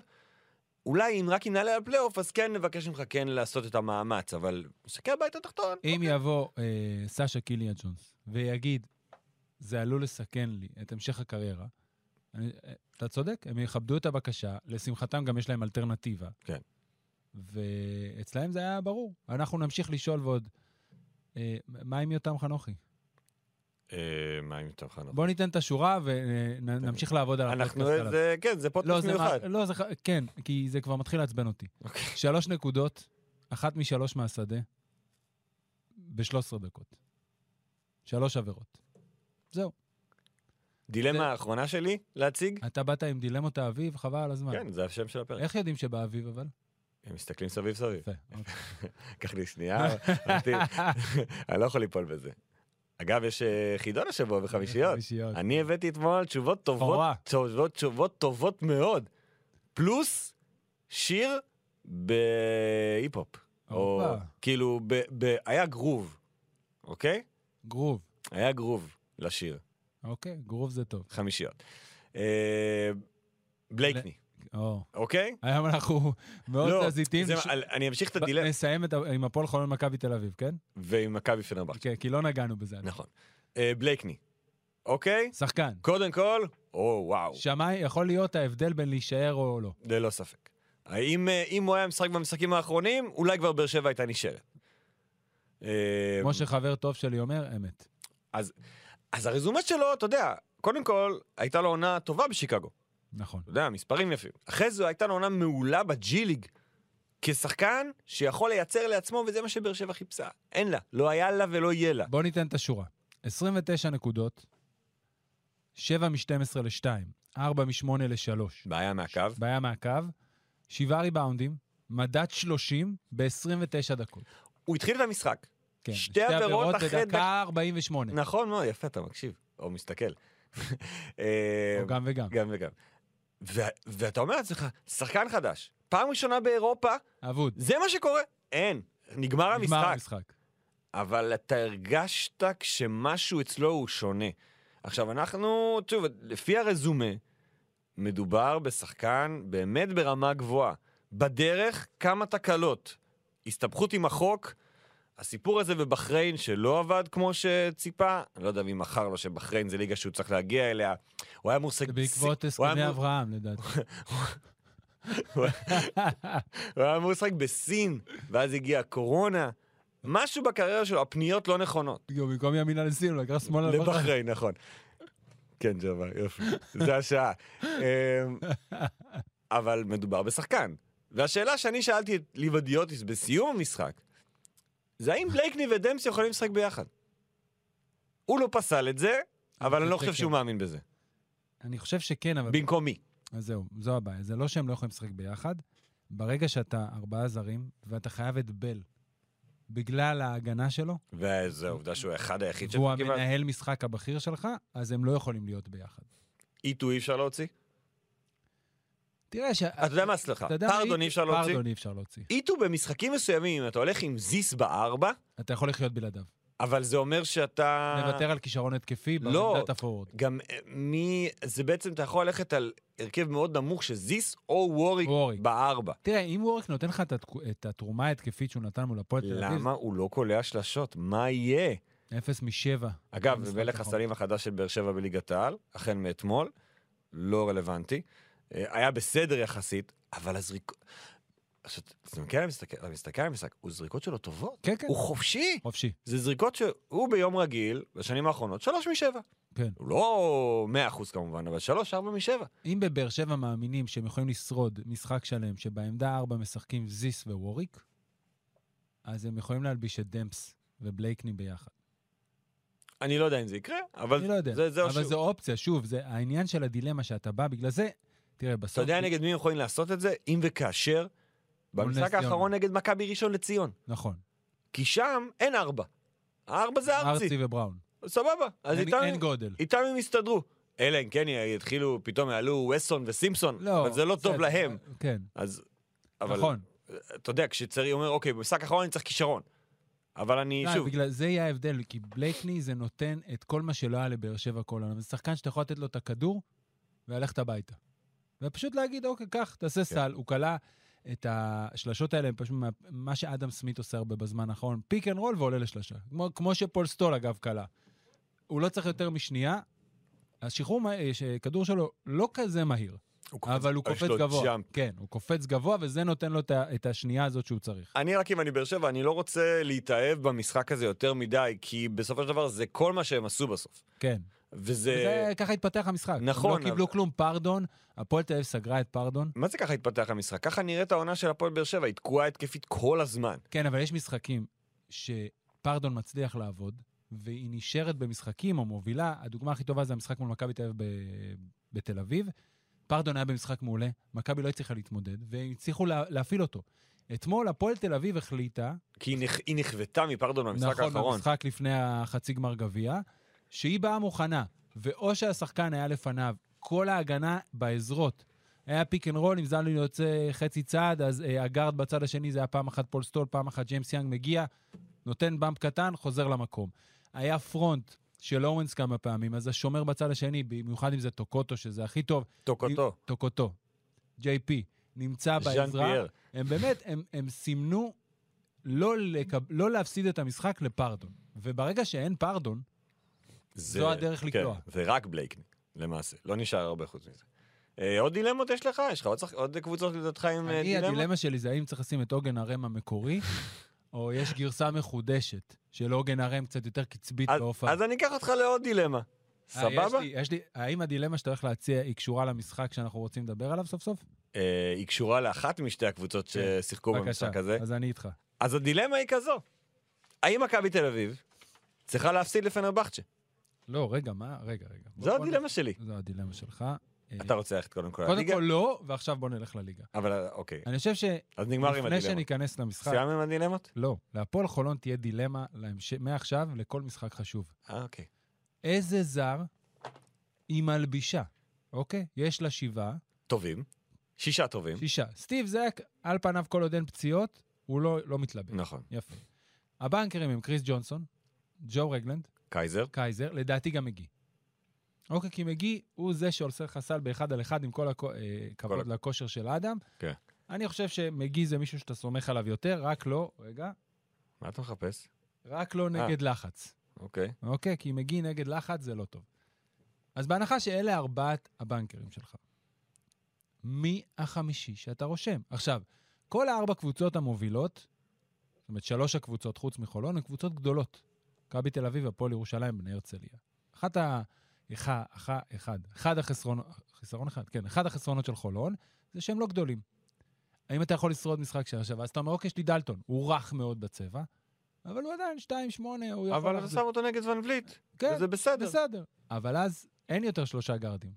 Speaker 3: אולי אם רק היא נעלה לפלייאוף, אז כן נבקש ממך כן לעשות את המאמץ, אבל משחקי הבית התחתון.
Speaker 2: אם יבוא אה, סשה קיליה ג'ונס ויגיד, זה עלול לסכן לי את המשך הקריירה. אני, אה, אתה צודק, הם יכבדו את הבקשה, לשמחתם גם יש להם אלטרנטיבה.
Speaker 3: כן.
Speaker 2: ואצלהם זה היה ברור. אנחנו נמשיך לשאול ועוד, אה, מה עם יותם חנוכי?
Speaker 3: נכון. אה, מה עם יותם חנוך?
Speaker 2: בוא ניתן את השורה ונמשיך לעבוד על
Speaker 3: אנחנו,
Speaker 2: הפודקאסט עליו.
Speaker 3: זה, כן, זה
Speaker 2: לא,
Speaker 3: פודקאסט
Speaker 2: זה
Speaker 3: מיוחד.
Speaker 2: מה- לא, זה... ח- כן, כי זה כבר מתחיל לעצבן אותי.
Speaker 3: אוקיי.
Speaker 2: שלוש נקודות, אחת משלוש מהשדה, ב-13 דקות. שלוש עבירות. זהו.
Speaker 3: דילמה
Speaker 2: זה-
Speaker 3: האחרונה שלי להציג?
Speaker 2: אתה באת עם דילמות האביב, חבל על הזמן.
Speaker 3: כן, זה השם של הפרק.
Speaker 2: איך יודעים שבאביב אבל?
Speaker 3: הם מסתכלים סביב סביב.
Speaker 2: יפה, אוקיי.
Speaker 3: קח לי שנייה, אה, אמרתי, אני לא יכול ליפול בזה. אגב, יש אה, חידון השבוע בחמישיות.
Speaker 2: חמישיות.
Speaker 3: אני הבאתי אתמול תשובות טובות,
Speaker 2: תורה.
Speaker 3: תשובות, תשובות טובות מאוד. פלוס שיר בהיפ-הופ. או
Speaker 2: הופה.
Speaker 3: כאילו, ב, ב, היה גרוב, אוקיי?
Speaker 2: גרוב.
Speaker 3: היה גרוב לשיר,
Speaker 2: אוקיי, גרוב זה טוב.
Speaker 3: חמישיות. אה, בלייקני,
Speaker 2: או.
Speaker 3: אוקיי?
Speaker 2: היום אנחנו מאוד
Speaker 3: לא,
Speaker 2: תזזיתים.
Speaker 3: זה-
Speaker 2: ש- אה,
Speaker 3: על- אני אמשיך את הדילמה,
Speaker 2: נסיים את ה- עם הפועל חולון מכבי תל אביב, כן?
Speaker 3: ועם מכבי פנרבכט,
Speaker 2: כן, כי לא נגענו בזה.
Speaker 3: נכון. אה, בלייקני, אוקיי?
Speaker 2: שחקן.
Speaker 3: קודם כל, או וואו,
Speaker 2: שמאי יכול להיות ההבדל בין להישאר או לא.
Speaker 3: ללא ספק. האם אה, אם הוא היה משחק במשחקים האחרונים, אולי כבר באר שבע הייתה נשארת. אה,
Speaker 2: כמו שחבר טוב שלי אומר, אמת.
Speaker 3: אז הרזומה שלו, אתה יודע, קודם כל, הייתה לו עונה טובה בשיקגו.
Speaker 2: נכון.
Speaker 3: אתה יודע, מספרים יפים. אחרי זה הייתה לו עונה מעולה בג'י ליג. כשחקן שיכול לייצר לעצמו, וזה מה שבאר שבע חיפשה. אין לה. לא היה לה ולא יהיה לה.
Speaker 2: בואו ניתן את השורה. 29 נקודות, 7 מ-12 ל-2, 4 מ-8 ל-3.
Speaker 3: בעיה מהקו.
Speaker 2: בעיה מהקו, 7 ריבאונדים, מדד 30 ב-29 דקות.
Speaker 3: הוא התחיל את המשחק.
Speaker 2: כן,
Speaker 3: שתי עבירות אחרי
Speaker 2: בדקה 48.
Speaker 3: נכון מאוד, יפה, אתה מקשיב. או מסתכל. אה,
Speaker 2: או גם וגם.
Speaker 3: גם וגם. ו- ואתה אומר לעצמך, שחקן חדש, פעם ראשונה באירופה,
Speaker 2: אבוד.
Speaker 3: זה מה שקורה. אין, נגמר
Speaker 2: נגמר
Speaker 3: המשחק.
Speaker 2: המשחק.
Speaker 3: אבל אתה הרגשת כשמשהו אצלו הוא שונה. עכשיו, אנחנו, שוב, לפי הרזומה, מדובר בשחקן באמת ברמה גבוהה. בדרך, כמה תקלות. הסתבכות עם החוק, הסיפור הזה בבחריין שלא עבד כמו שציפה, אני לא יודע מי מכר לו שבחריין זה ליגה שהוא צריך להגיע אליה. הוא היה אמור...
Speaker 2: זה
Speaker 3: לסג-
Speaker 2: בעקבות
Speaker 3: הוא היה
Speaker 2: הסכמי
Speaker 3: אמור-
Speaker 2: אברהם, לדעתי.
Speaker 3: הוא היה אמור לשחק בסין, ואז הגיעה הקורונה. משהו בקריירה שלו, הפניות לא נכונות.
Speaker 2: גם במקום ימינה לסין, הוא לקח שמאלה לבחר.
Speaker 3: לבחריין, נכון. כן, ג'בר, יופי. זה השעה. אמ, אבל מדובר בשחקן. והשאלה שאני שאלתי את ליבדיוטיס בסיום המשחק, זה האם בלייקני ודמס יכולים לשחק ביחד? הוא לא פסל את זה, אבל אני לא חושב שהוא מאמין בזה.
Speaker 2: אני חושב שכן, אבל...
Speaker 3: במקומי.
Speaker 2: אז זהו, זו הבעיה. זה לא שהם לא יכולים לשחק ביחד. ברגע שאתה ארבעה זרים, ואתה חייב את בל, בגלל ההגנה שלו,
Speaker 3: וזו העובדה שהוא האחד היחיד
Speaker 2: והוא
Speaker 3: שכמעט-
Speaker 2: המנהל משחק הבכיר שלך, אז הם לא יכולים להיות ביחד.
Speaker 3: איטו E אי אפשר להוציא?
Speaker 2: תראה ש...
Speaker 3: אתה יודע מה, סליחה. פרדון אי אפשר להוציא?
Speaker 2: E- פרדון אי אפשר להוציא.
Speaker 3: איטו במשחקים מסוימים, אם אתה הולך עם זיס בארבע,
Speaker 2: אתה יכול לחיות בלעדיו.
Speaker 3: אבל זה אומר שאתה...
Speaker 2: נוותר על כישרון התקפי
Speaker 3: אה. לא.
Speaker 2: בעמדת הפורוורד.
Speaker 3: גם אה, מי... זה בעצם, אתה יכול ללכת על הרכב מאוד נמוך של זיס או ווריק
Speaker 2: ווריק.
Speaker 3: בארבע.
Speaker 2: תראה, אם ווריק נותן לך את התק- את התרומה ההתקפית שהוא נתן מול הפועל תל אביב,
Speaker 3: למה הוא לא קולע שלשות? מה יהיה?
Speaker 2: אפס משבע.
Speaker 3: אגב,
Speaker 2: במשחק
Speaker 3: מלך
Speaker 2: האחרון.
Speaker 3: הסלים החדש של באר שבע בליגת העל, החל מאתמול, לא רלוונטי. אה, היה בסדר יחסית, אבל הזריקות... עכשיו, אתה מסתכל על המשחק- אתה מסתכל על המשחק, הוא זריקות שלו טובות.
Speaker 2: כן, כן,
Speaker 3: הוא חופשי.
Speaker 2: חופשי.
Speaker 3: זה זריקות שהוא ביום רגיל, בשנים האחרונות, שלוש משבע.
Speaker 2: כן.
Speaker 3: הוא לא מאה אחוז כמובן, אבל שלוש, ארבע משבע.
Speaker 2: אם בבאר שבע מאמינים שהם יכולים לשרוד משחק שלם שבעמדה ארבע משחקים זיס וורוריק, אז הם יכולים להלביש את דמפס ובלייקני ביחד.
Speaker 3: אני לא יודע אם זה יקרה, אבל
Speaker 2: אני לא יודע,
Speaker 3: זה, זה
Speaker 2: אבל
Speaker 3: אבל
Speaker 2: זו אופציה, שוב, זה העניין של הדילמה שאתה בא, בגלל זה, תראה, בסוף...
Speaker 3: אתה יודע נגד מי הם יכולים לעשות את זה? אם וכאשר,
Speaker 2: מול נס
Speaker 3: במשחק
Speaker 2: ציונה.
Speaker 3: האחרון נגד מכבי ראשון לציון.
Speaker 2: נכון,
Speaker 3: כי שם אין ארבע. הארבע זה ארצי,
Speaker 2: ארצי ובראון.
Speaker 3: סבבה. אז
Speaker 2: אין
Speaker 3: איתם,
Speaker 2: אין גודל.
Speaker 3: איתם הם יסתדרו. אלא אם כן יתחילו, פתאום יעלו וסון וסימפסון,
Speaker 2: לא,
Speaker 3: אבל זה לא טוב
Speaker 2: בסדר,
Speaker 3: להם.
Speaker 2: כן,
Speaker 3: אז... אבל,
Speaker 2: נכון.
Speaker 3: אתה יודע, כשצריך, אומר, אוקיי, במשחק האחרון אני צריך כישרון. אבל אני,
Speaker 2: לא,
Speaker 3: שוב,
Speaker 2: בגלל זה יהיה ההבדל, כי בלייקני זה נותן את כל מה שלא היה לבאר שבע כל העונה. זה שחקן שאתה יכול לתת לו את הכדור וללכת הביתה. ופשוט להגיד, אוקיי, קח,
Speaker 3: כן.
Speaker 2: תעשה סל. הוא כלה את השלשות האלה, הם פשוט מה- מה שאדם סמית עושה הרבה בזמן האחרון, פיק אנד רול ועולה לשלשה. כמו, כמו שפול סטול, אגב, כלה. הוא לא צריך יותר משנייה. השחרור, מה- ש- כדור שלו לא כזה מהיר,
Speaker 3: הוא קופץ-
Speaker 2: אבל הוא
Speaker 3: יש
Speaker 2: קופץ
Speaker 3: לו
Speaker 2: גבוה.
Speaker 3: jump.
Speaker 2: כן, הוא קופץ גבוה, וזה נותן לו את ה- את השנייה הזאת שהוא צריך.
Speaker 3: אני רק אם אני באר שבע, אני לא רוצה להתאהב במשחק הזה יותר מדי, כי בסופו של דבר זה כל מה שהם עשו בסוף.
Speaker 2: כן.
Speaker 3: וזה...
Speaker 2: וזה ככה התפתח המשחק.
Speaker 3: אה, נכון,
Speaker 2: הם לא קיבלו
Speaker 3: אבל-
Speaker 2: כלום פרדון, הפועל תל אביב סגרה את פרדון.
Speaker 3: מה זה ככה התפתח המשחק? ככה נראית העונה של הפועל באר שבע, היא תקועה התקפית כל הזמן.
Speaker 2: כן, אבל יש משחקים שפרדון מצליח לעבוד, והיא נשארת במשחקים או מובילה. הדוגמה הכי טובה זה המשחק מול מכבי תל אביב ב- בתל אביב. פרדון היה במשחק מעולה, מכבי לא הצליחה להתמודד, והם הצליחו לה, להפעיל אותו. אתמול הפועל תל אביב החליטה,
Speaker 3: כי היא נכ- היא נכוותה מפרדון במשחק
Speaker 2: נכון,
Speaker 3: האחרון.
Speaker 2: במשחק לפני החצי גמר גביע, שהיא באה מוכנה, ואו שהשחקן היה לפניו, כל ההגנה בעזרות. היה פיק אנד רול, אם זלנו יוצא חצי צעד, אז אה, הגארד בצד השני זה היה פעם אחת פול סטול, פעם אחת ג'יימס יאנג מגיע, נותן באמפ קטן, חוזר למקום. היה פרונט של אורנס כמה פעמים, אז השומר בצד השני, במיוחד אם זה טוקוטו, שזה הכי טוב.
Speaker 3: טוקוטו,
Speaker 2: טוקוטו, ג'יי פי, נמצא
Speaker 3: ז'אן
Speaker 2: בעזרה.
Speaker 3: פייר.
Speaker 2: הם באמת, הם, הם סימנו לא, לקב, לא להפסיד את המשחק לפרדון. וברגע שאין פרדון,
Speaker 3: זה-
Speaker 2: זו הדרך
Speaker 3: כן,
Speaker 2: לקלוע.
Speaker 3: זה רק בלייקני, למעשה. לא נשאר הרבה חוץ מזה. אה, עוד דילמות יש לך? יש לך עוד שח- עוד קבוצות לדעתך עם אה,
Speaker 2: אני,
Speaker 3: דילמות?
Speaker 2: הדילמה שלי זה האם צריך לשים את עוגן הרם המקורי, או יש גרסה מחודשת של עוגן הרם קצת יותר קצבית
Speaker 3: אז-
Speaker 2: בהופעה.
Speaker 3: אז אני אקח אותך לעוד דילמה.
Speaker 2: אה, יש
Speaker 3: סבבה?
Speaker 2: לי- יש לי, האם הדילמה שאתה הולך להציע היא קשורה למשחק שאנחנו רוצים לדבר עליו סוף סוף?
Speaker 3: אה, היא קשורה לאחת משתי הקבוצות
Speaker 2: כן.
Speaker 3: ששיחקו במשחק הזה.
Speaker 2: אז אני איתך.
Speaker 3: אז הדילמה היא כזו. האם מכבי תל אביב צריכה להפסיד לפנרבחצ'ה?
Speaker 2: לא, רגע, מה? רגע, רגע. בוא-
Speaker 3: זו
Speaker 2: בוא
Speaker 3: הדילמה שלי.
Speaker 2: נ- זו הדילמה שלך. אה,
Speaker 3: אתה רוצה ללכת קודם כל
Speaker 2: קודם
Speaker 3: לליגה?
Speaker 2: כל לא, ועכשיו בוא נלך לליגה.
Speaker 3: אבל אה, אוקיי.
Speaker 2: אני חושב שלפני
Speaker 3: אז נגמר עם הדילמות.
Speaker 2: שניכנס למשחק,
Speaker 3: סיימנו עם הדילמות?
Speaker 2: לא, להפועל חולון תהיה דילמה להמש- מעכשיו לכל משחק חשוב.
Speaker 3: אה, אוקיי.
Speaker 2: איזה זר היא מלבישה, אוקיי? יש לה שבעה,
Speaker 3: טובים. שישה טובים.
Speaker 2: שישה. סטיב זק, על פניו כל עוד אין פציעות, הוא לא, לא מתלבט.
Speaker 3: נכון.
Speaker 2: יפה. הבנקרים הם קריס ג'ונסון, ג'ו רגלנד,
Speaker 3: קייזר.
Speaker 2: קייזר, לדעתי גם מגי. אוקיי, כי מגי הוא זה שעושה לך סל באחד על אחד עם כל הכבוד
Speaker 3: כל
Speaker 2: לכושר של האדם.
Speaker 3: כן.
Speaker 2: אני חושב שמגי זה מישהו שאתה סומך עליו יותר, רק לא, רגע,
Speaker 3: מה אתה מחפש?
Speaker 2: רק לא
Speaker 3: אה.
Speaker 2: נגד לחץ.
Speaker 3: אוקיי.
Speaker 2: אוקיי? כי מגי נגד לחץ זה לא טוב. אז בהנחה שאלה ארבעת הבנקרים שלך, מי החמישי שאתה רושם? עכשיו, כל הארבע קבוצות המובילות, זאת אומרת שלוש הקבוצות חוץ מחולון, הן קבוצות גדולות. מכבי תל אביב, הפועל ירושלים, בני הרצליה. אחת ה... אחד, אחד, אחד, אחד החסרונות, חיסרון אחד, כן, אחד החסרונות של חולון, זה שהם לא גדולים. האם אתה יכול לשרוד משחק של עכשיו? אז אתה אומר, אוקיי, יש לי דלטון, הוא רך מאוד בצבע, אבל הוא עדיין 2-8, הוא יכול...
Speaker 3: אבל אתה
Speaker 2: להחזיק.
Speaker 3: שם אותו נגד ון וליט.
Speaker 2: כן,
Speaker 3: וזה בסדר.
Speaker 2: בסדר. אבל אז אין יותר שלושה גארדים.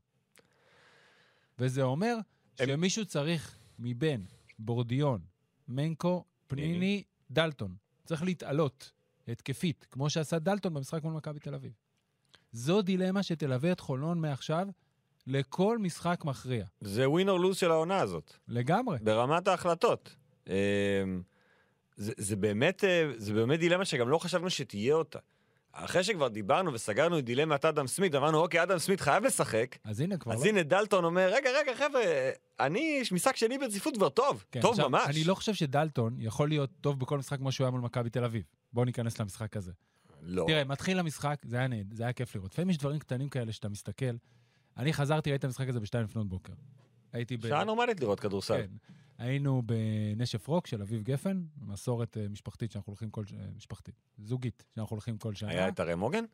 Speaker 2: וזה אומר
Speaker 3: הם-
Speaker 2: שמישהו צריך מבין בורדיון, מנקו, פניני, דלטון. צריך להתעלות התקפית, כמו שעשה דלטון במשחק מול מכבי תל אביב. זו דילמה שתלווה את חולון מעכשיו לכל משחק מכריע.
Speaker 3: זה ווין אור לוז של העונה הזאת.
Speaker 2: לגמרי.
Speaker 3: ברמת ההחלטות. אמ, זה, זה, באמת, אה, זה באמת דילמה שגם לא חשבנו שתהיה אותה. אחרי שכבר דיברנו וסגרנו את דילמת אדם סמית, אמרנו, אוקיי, אדם סמית חייב לשחק.
Speaker 2: אז הנה כבר
Speaker 3: אז
Speaker 2: לא...
Speaker 3: הנה דלטון אומר, רגע, רגע, חבר'ה, אני, משחק שני ברציפות כבר טוב,
Speaker 2: כן,
Speaker 3: טוב
Speaker 2: עכשיו,
Speaker 3: ממש.
Speaker 2: אני לא חושב שדלטון יכול להיות טוב בכל משחק כמו שהוא היה מול מכבי תל אביב. בואו ניכנס למשחק הזה.
Speaker 3: לא.
Speaker 2: תראה, מתחיל המשחק, זה היה נהד, זה היה כיף לראות. לפעמים יש דברים קטנים כאלה שאתה מסתכל. אני חזרתי, ראיתי את המשחק הזה בשתיים לפנות בוקר. הייתי ב...
Speaker 3: שעה נורמלית לראות כדורסל.
Speaker 2: כן. היינו בנשף רוק של אביב גפן, מסורת אה, משפחתית שאנחנו הולכים כל... ש- אה, משפחתית, זוגית, שאנחנו הולכים כל שנה.
Speaker 3: היה את הראם הוגן?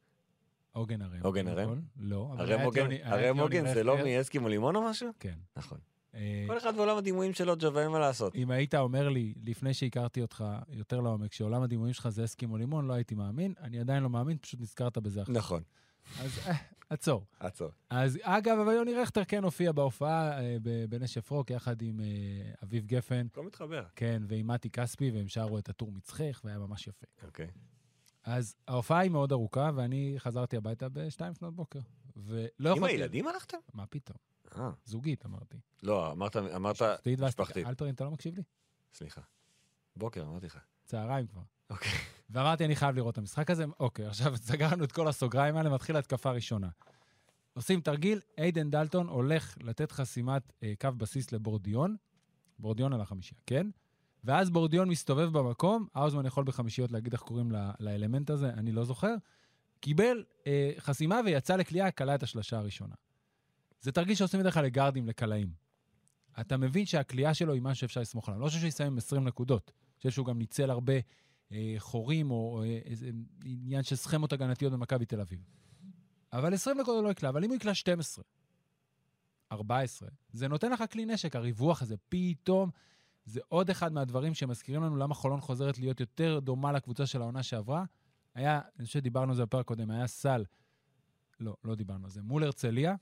Speaker 2: עוגן הרם.
Speaker 3: עוגן
Speaker 2: נכון?
Speaker 3: הרם?
Speaker 2: לא. אבל
Speaker 3: הראם
Speaker 2: היה את
Speaker 3: הוגן-
Speaker 2: יוני- היה את
Speaker 3: הראם
Speaker 2: יוני
Speaker 3: הוגן זה לא
Speaker 2: רכטר.
Speaker 3: מאסקימו לימון או משהו?
Speaker 2: כן.
Speaker 3: נכון.
Speaker 2: אה,
Speaker 3: כל אחד בעולם הדימויים שלו, ג'ווה, אין מה לעשות.
Speaker 2: אם היית אומר לי, לפני שהכרתי אותך יותר לעומק, שעולם הדימויים שלך זה אסקימו לימון, לא הייתי מאמין. אני עדיין לא מאמין, פשוט נזכרת בזה עכשיו.
Speaker 3: נכון.
Speaker 2: אז אה, עצור.
Speaker 3: עצור.
Speaker 2: אז אגב, אבל יוני רכטר כן הופיע בהופעה אה, ב- בנשף רוק יחד עם אה, אביב גפן,
Speaker 3: הכל מתחבר.
Speaker 2: כן, ועם מתי כספי, והם שרו את הטור מצחך, והיה ממש יפה.
Speaker 3: אוקיי.
Speaker 2: אז ההופעה היא מאוד ארוכה, ואני חזרתי הביתה בשתיים לפנות בוקר. ולא
Speaker 3: עם
Speaker 2: לא יכולתי...
Speaker 3: הילדים הלכתם?
Speaker 2: מה פתאום?
Speaker 3: אה.
Speaker 2: זוגית, אמרתי.
Speaker 3: לא, אמרת, אמרת,
Speaker 2: משפחתית ואז-
Speaker 3: משפחתית.
Speaker 2: אלפרין, אתה לא מקשיב לי?
Speaker 3: סליחה. בוקר, אמרתי לך.
Speaker 2: צהריים כבר.
Speaker 3: אוקיי.
Speaker 2: ואמרתי, אני חייב לראות את המשחק הזה. אוקיי, עכשיו סגרנו את כל הסוגריים האלה, מתחילה התקפה ראשונה. עושים תרגיל, איידן דלטון הולך לתת חסימת אה, קו בסיס לבורדיון. בורדיון על החמישייה, כן? ואז בורדיון מסתובב במקום, האוזמן יכול בחמישיות להגיד איך קוראים ל- לאלמנט הזה, אני לא זוכר. קיבל אה, חסימה ויצא לקליעה, כלה את השלשה הראשונה. זה תרגיל שעושים בדרך כלל לגארדים, לקלעים. אתה מבין שהקליעה שלו היא משהו שאפשר לסמוך עליו. לא חושב שהוא יסיים עם 20 נקודות. אני חושב שהוא גם ניצל הרבה אה, חורים או אה, איזה עניין של סכמות הגנתיות במכבי תל אביב. אבל 20 נקודות לא יקלע, אבל אם הוא יקלע 12, 14, זה נותן לך כלי נשק, הריווח הזה. פתאום זה עוד אחד מהדברים שמזכירים לנו למה חולון חוזרת להיות יותר דומה לקבוצה של העונה שעברה. היה, אני חושב שדיברנו על זה בפרק קודם, היה סל, לא, לא דיברנו על זה, מול הרצליה,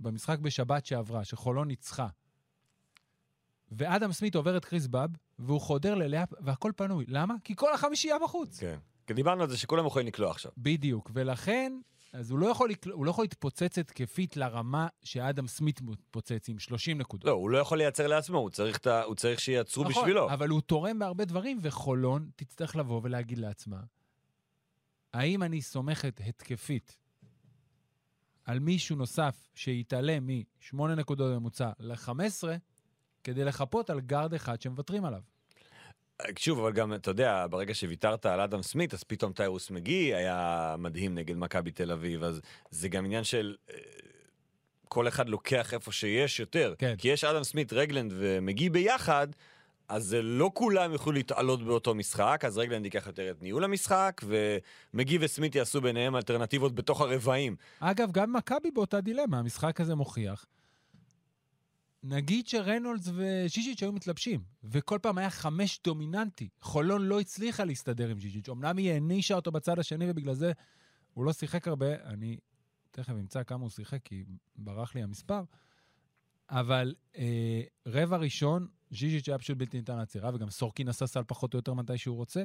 Speaker 2: במשחק בשבת שעברה, שחולון ניצחה. ואדם סמית עובר את קריס באב, והוא חודר ללאפ, והכל פנוי. למה? כי כל החמישייה בחוץ.
Speaker 3: כן. כי דיברנו על זה שכולם יכולים לקלוע עכשיו.
Speaker 2: בדיוק, ולכן, אז הוא לא יכול, לקל- הוא לא יכול להתפוצץ התקפית לרמה שאדם סמית מתפוצץ עם 30 נקודות.
Speaker 3: לא, הוא לא יכול לייצר לעצמו, הוא צריך, את ה... הוא צריך שייצרו
Speaker 2: נכון,
Speaker 3: בשבילו.
Speaker 2: אבל הוא תורם בהרבה דברים, וחולון תצטרך לבוא ולהגיד לעצמה, האם אני סומכת התקפית על מישהו נוסף שיתעלה מ-8 נקודות בממוצע ל-15, כדי לחפות על גארד אחד שמוותרים עליו?
Speaker 3: שוב, אבל גם, אתה יודע, ברגע שוויתרת על אדם סמית, אז פתאום טיירוס מגי היה מדהים נגד מכבי תל אביב, אז זה גם עניין של... אה, כל אחד לוקח איפה שיש יותר.
Speaker 2: כן.
Speaker 3: כי יש אדם סמית, רגלנד ומגי ביחד, אז זה לא כולם יוכלו להתעלות באותו משחק, אז רגלנד ייקח יותר את ניהול המשחק, ומגי וסמית יעשו ביניהם אלטרנטיבות בתוך הרבעים.
Speaker 2: אגב, גם מכבי באותה דילמה, המשחק הזה מוכיח. נגיד שריינולדס ושישיץ' היו מתלבשים, וכל פעם היה חמש דומיננטי. חולון לא הצליחה להסתדר עם שישיץ'. אמנם היא הענישה אותו בצד השני, ובגלל זה הוא לא שיחק הרבה. אני תכף אמצא כמה הוא שיחק, כי ברח לי המספר. אבל אה, רבע ראשון, ז'יז'יץ' היה פשוט בלתי ניתן לעצירה, וגם סורקין עשה סל פחות או יותר מתי שהוא רוצה.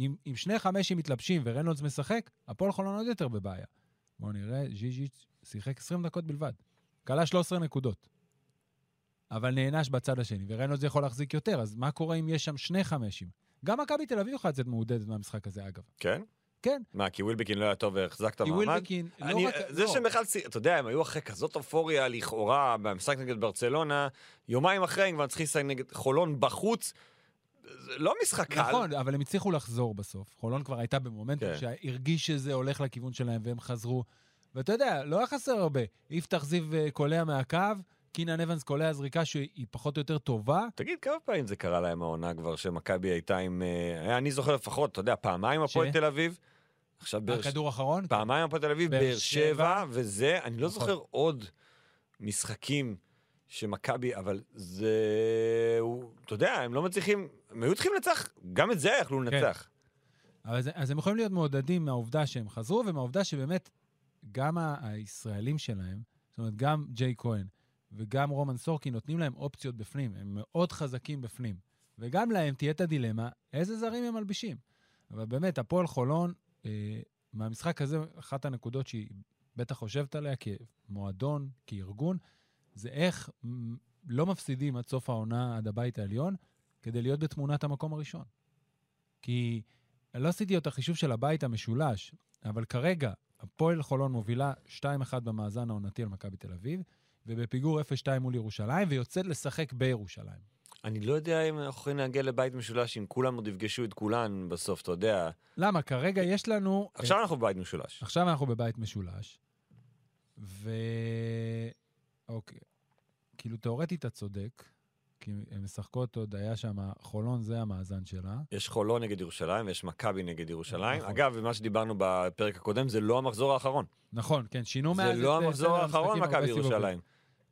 Speaker 2: אם, אם שני חמשים מתלבשים וריינולדס משחק, הפועל חולון עוד יותר בבעיה. בואו נראה, ז'יז'יץ' שיחק 20 דקות בלבד. כלה 13 נקודות. אבל נענש בצד השני, וריינולדס יכול להחזיק יותר, אז מה קורה אם יש שם שני חמשים? גם מכבי תל אביב יכולה לצאת מעודדת מהמשחק הזה, אגב.
Speaker 3: כן?
Speaker 2: כן.
Speaker 3: מה, כי ווילבקין לא היה טוב והחזקת
Speaker 2: כי
Speaker 3: מעמד?
Speaker 2: ווילבקין, לא
Speaker 3: אני,
Speaker 2: רק...
Speaker 3: זה
Speaker 2: לא.
Speaker 3: שהם בכלל, צי- אתה יודע, הם היו אחרי כזאת אופוריה לכאורה במשחק נגד ברצלונה, יומיים אחרי הם כבר צריכים לשחק נגד חולון בחוץ, זה לא משחק קל.
Speaker 2: נכון, אבל הם הצליחו לחזור בסוף. חולון כבר הייתה במומנטום
Speaker 3: כן.
Speaker 2: שהרגיש שזה הולך לכיוון שלהם והם חזרו. ואתה יודע, לא היה חסר הרבה. יפתח זיו אה, קולע מהקו, קינן אבנס קולע זריקה שהיא פחות או יותר טובה.
Speaker 3: תגיד, כמה פעמים זה קרה להם העונה כבר, שמכבי הייתה עם... אה, היה, אני זוכר לפחות, אתה יודע, פעמיים הפועל
Speaker 2: ש?
Speaker 3: תל אביב, עכשיו באר שבע,
Speaker 2: הכדור האחרון?
Speaker 3: פעמיים הפועל תל אביב,
Speaker 2: באר
Speaker 3: באר
Speaker 2: שבע.
Speaker 3: שבע, וזה, אני לא
Speaker 2: נכון.
Speaker 3: זוכר עוד משחקים שמכבי, אבל זה... הוא- אתה יודע, הם לא מצליחים, הם היו צריכים לנצח, גם את זה היה יכלו
Speaker 2: כן.
Speaker 3: לנצח.
Speaker 2: אבל זה, אז הם יכולים להיות מעודדים מהעובדה שהם חזרו ומהעובדה שבאמת גם ה- הישראלים שלהם, זאת אומרת, גם ג'יי כהן וגם רומן סורקין נותנים להם אופציות בפנים, הם מאוד חזקים בפנים. וגם להם תהיה את הדילמה איזה זרים הם מלבישים. אבל באמת, הפועל חולון, אה, מהמשחק הזה, אחת הנקודות שהיא בטח חושבת עליה כמועדון, כארגון, זה איך מ, לא מפסידים עד סוף העונה, עד הבית העליון, כדי להיות בתמונת המקום הראשון. כי לא עשיתי את החישוב של הבית המשולש, אבל כרגע הפועל חולון מובילה 2-1 במאזן העונתי על מכבי תל אביב, ובפיגור 0-2 מול ירושלים, ויוצאת לשחק בירושלים.
Speaker 3: אני לא יודע אם אנחנו יכולים להגיע לבית משולש, אם כולם עוד יפגשו את כולן בסוף, אתה יודע.
Speaker 2: למה? כרגע יש לנו...
Speaker 3: עכשיו אנחנו בבית משולש.
Speaker 2: עכשיו אנחנו בבית משולש, ו... אוקיי. כאילו, תאורטית אתה צודק, כי הן משחקות עוד, היה שם, חולון זה המאזן שלה.
Speaker 3: יש חולון נגד ירושלים ויש מכבי נגד ירושלים.
Speaker 2: נכון.
Speaker 3: אגב, מה שדיברנו בפרק הקודם, זה לא המחזור האחרון.
Speaker 2: נכון, כן, שינו
Speaker 3: זה
Speaker 2: מאז...
Speaker 3: לא
Speaker 2: את, אה,
Speaker 3: המחזור
Speaker 2: סדר
Speaker 3: האחרון,
Speaker 2: המשחקים,
Speaker 3: מכבי
Speaker 2: הרבה סיבובים.
Speaker 3: ירושלים.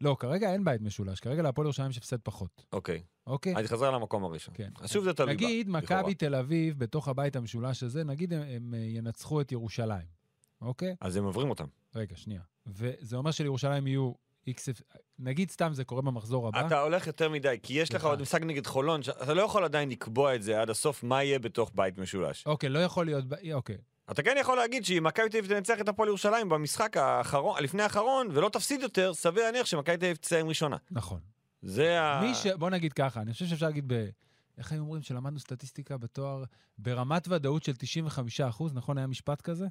Speaker 2: לא, כרגע אין בית משולש, כרגע להפועל ירושלים יש הפסד פחות.
Speaker 3: אוקיי,
Speaker 2: אוקיי?
Speaker 3: אני חוזר למקום הראשון.
Speaker 2: כן.
Speaker 3: אז שוב זה תלוי בה.
Speaker 2: נגיד,
Speaker 3: לכאורה.
Speaker 2: מכבי תל אביב, בתוך הבית המשולש הזה, נגיד הם, הם אה, ינצחו את ירושלים, אוקיי?
Speaker 3: אז הם עוברים אותם.
Speaker 2: רגע, שנייה. וזה אומר שלירושלים יהיו איקס... נגיד סתם זה קורה במחזור הבא.
Speaker 3: אתה הולך יותר מדי, כי יש לך
Speaker 2: סליחה.
Speaker 3: עוד משחק נגד חולון, ש- אתה לא יכול עדיין לקבוע את זה עד הסוף, מה יהיה בתוך בית משולש.
Speaker 2: אוקיי, לא יכול להיות... ב- אוקיי.
Speaker 3: אתה כן יכול להגיד שאם מכבי תל אביב תנצח את הפועל ירושלים במשחק האחרון, לפני האחרון, ולא תפסיד יותר, סביר להניח שמכבי תל אביב תסיים ראשונה.
Speaker 2: נכון.
Speaker 3: זה ה...
Speaker 2: מי ש... בוא נגיד ככה, אני חושב שאפשר להגיד ב... איך היו אומרים שלמדנו סטטיסטיקה בתואר? ברמת ודאות של 95%, נכון? היה משפט כזה?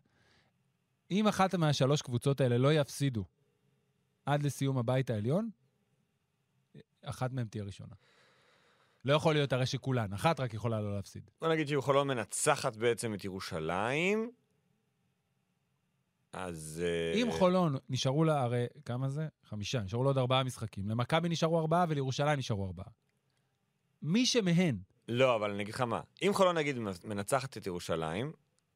Speaker 2: אם אחת מהשלוש קבוצות האלה לא יפסידו עד לסיום הבית העליון, אחת מהן תהיה ראשונה. לא יכול להיות הרי שכולן, אחת רק יכולה לא להפסיד.
Speaker 3: בוא נגיד שאם חולון מנצחת בעצם את ירושלים, אז... אה,
Speaker 2: אם חולון נשארו לה, הרי כמה זה? חמישה, נשארו לה עוד ארבעה משחקים. למכבי נשארו ארבעה ולירושלים נשארו ארבעה. מי שמהן,
Speaker 3: לא, אבל אני אגיד לך מה. אם חולון, נגיד, מנצחת את ירושלים,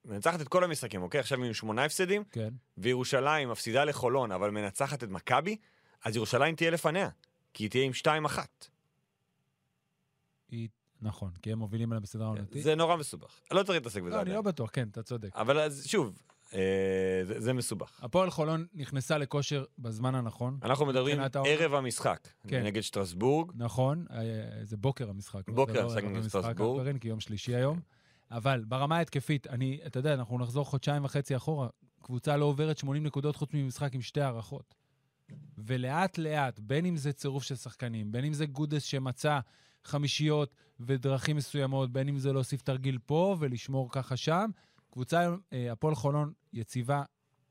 Speaker 3: מנצחת את כל המשחקים, אוקיי? עכשיו עם שמונה הפסדים,
Speaker 2: כן,
Speaker 3: וירושלים מפסידה לחולון, אבל מנצחת את מכבי, אז ירושלים תהיה לפניה, כי היא תהיה עם 2-1.
Speaker 2: היא... נכון, כי הם מובילים עליה בסדר העונתי.
Speaker 3: זה נורא מסובך. לא צריך להתעסק בזה
Speaker 2: לא, אני
Speaker 3: עדיין.
Speaker 2: לא בטוח, כן, אתה צודק.
Speaker 3: אבל אז שוב, אה, זה זה מסובך.
Speaker 2: הפועל חולון נכנסה לכושר בזמן הנכון.
Speaker 3: אנחנו מדברים
Speaker 2: מבחינת העונה.
Speaker 3: ערב המשחק.
Speaker 2: כן.
Speaker 3: נגד שטרסבורג,
Speaker 2: נכון, אה, זה בוקר המשחק. לא?
Speaker 3: בוקר
Speaker 2: זה לא
Speaker 3: המשחק
Speaker 2: ערב
Speaker 3: נגד
Speaker 2: המשחק,
Speaker 3: סטרסבורג.
Speaker 2: אלפרין, כי יום
Speaker 3: אוקיי.
Speaker 2: שלישי היום. אבל ברמה ההתקפית, אני, אתה יודע, אנחנו נחזור חודשיים וחצי אחורה. קבוצה לא עוברת 80 נקודות חוץ ממשחק עם שתי הערכות. ולאט-לאט, בין אם זה צירוף של שחקנים, בין אם זה גודס שמצא חמישיות ודרכים מסוימות, בין אם זה להוסיף תרגיל פה ולשמור ככה שם, קבוצה, אה, הפועל חולון יציבה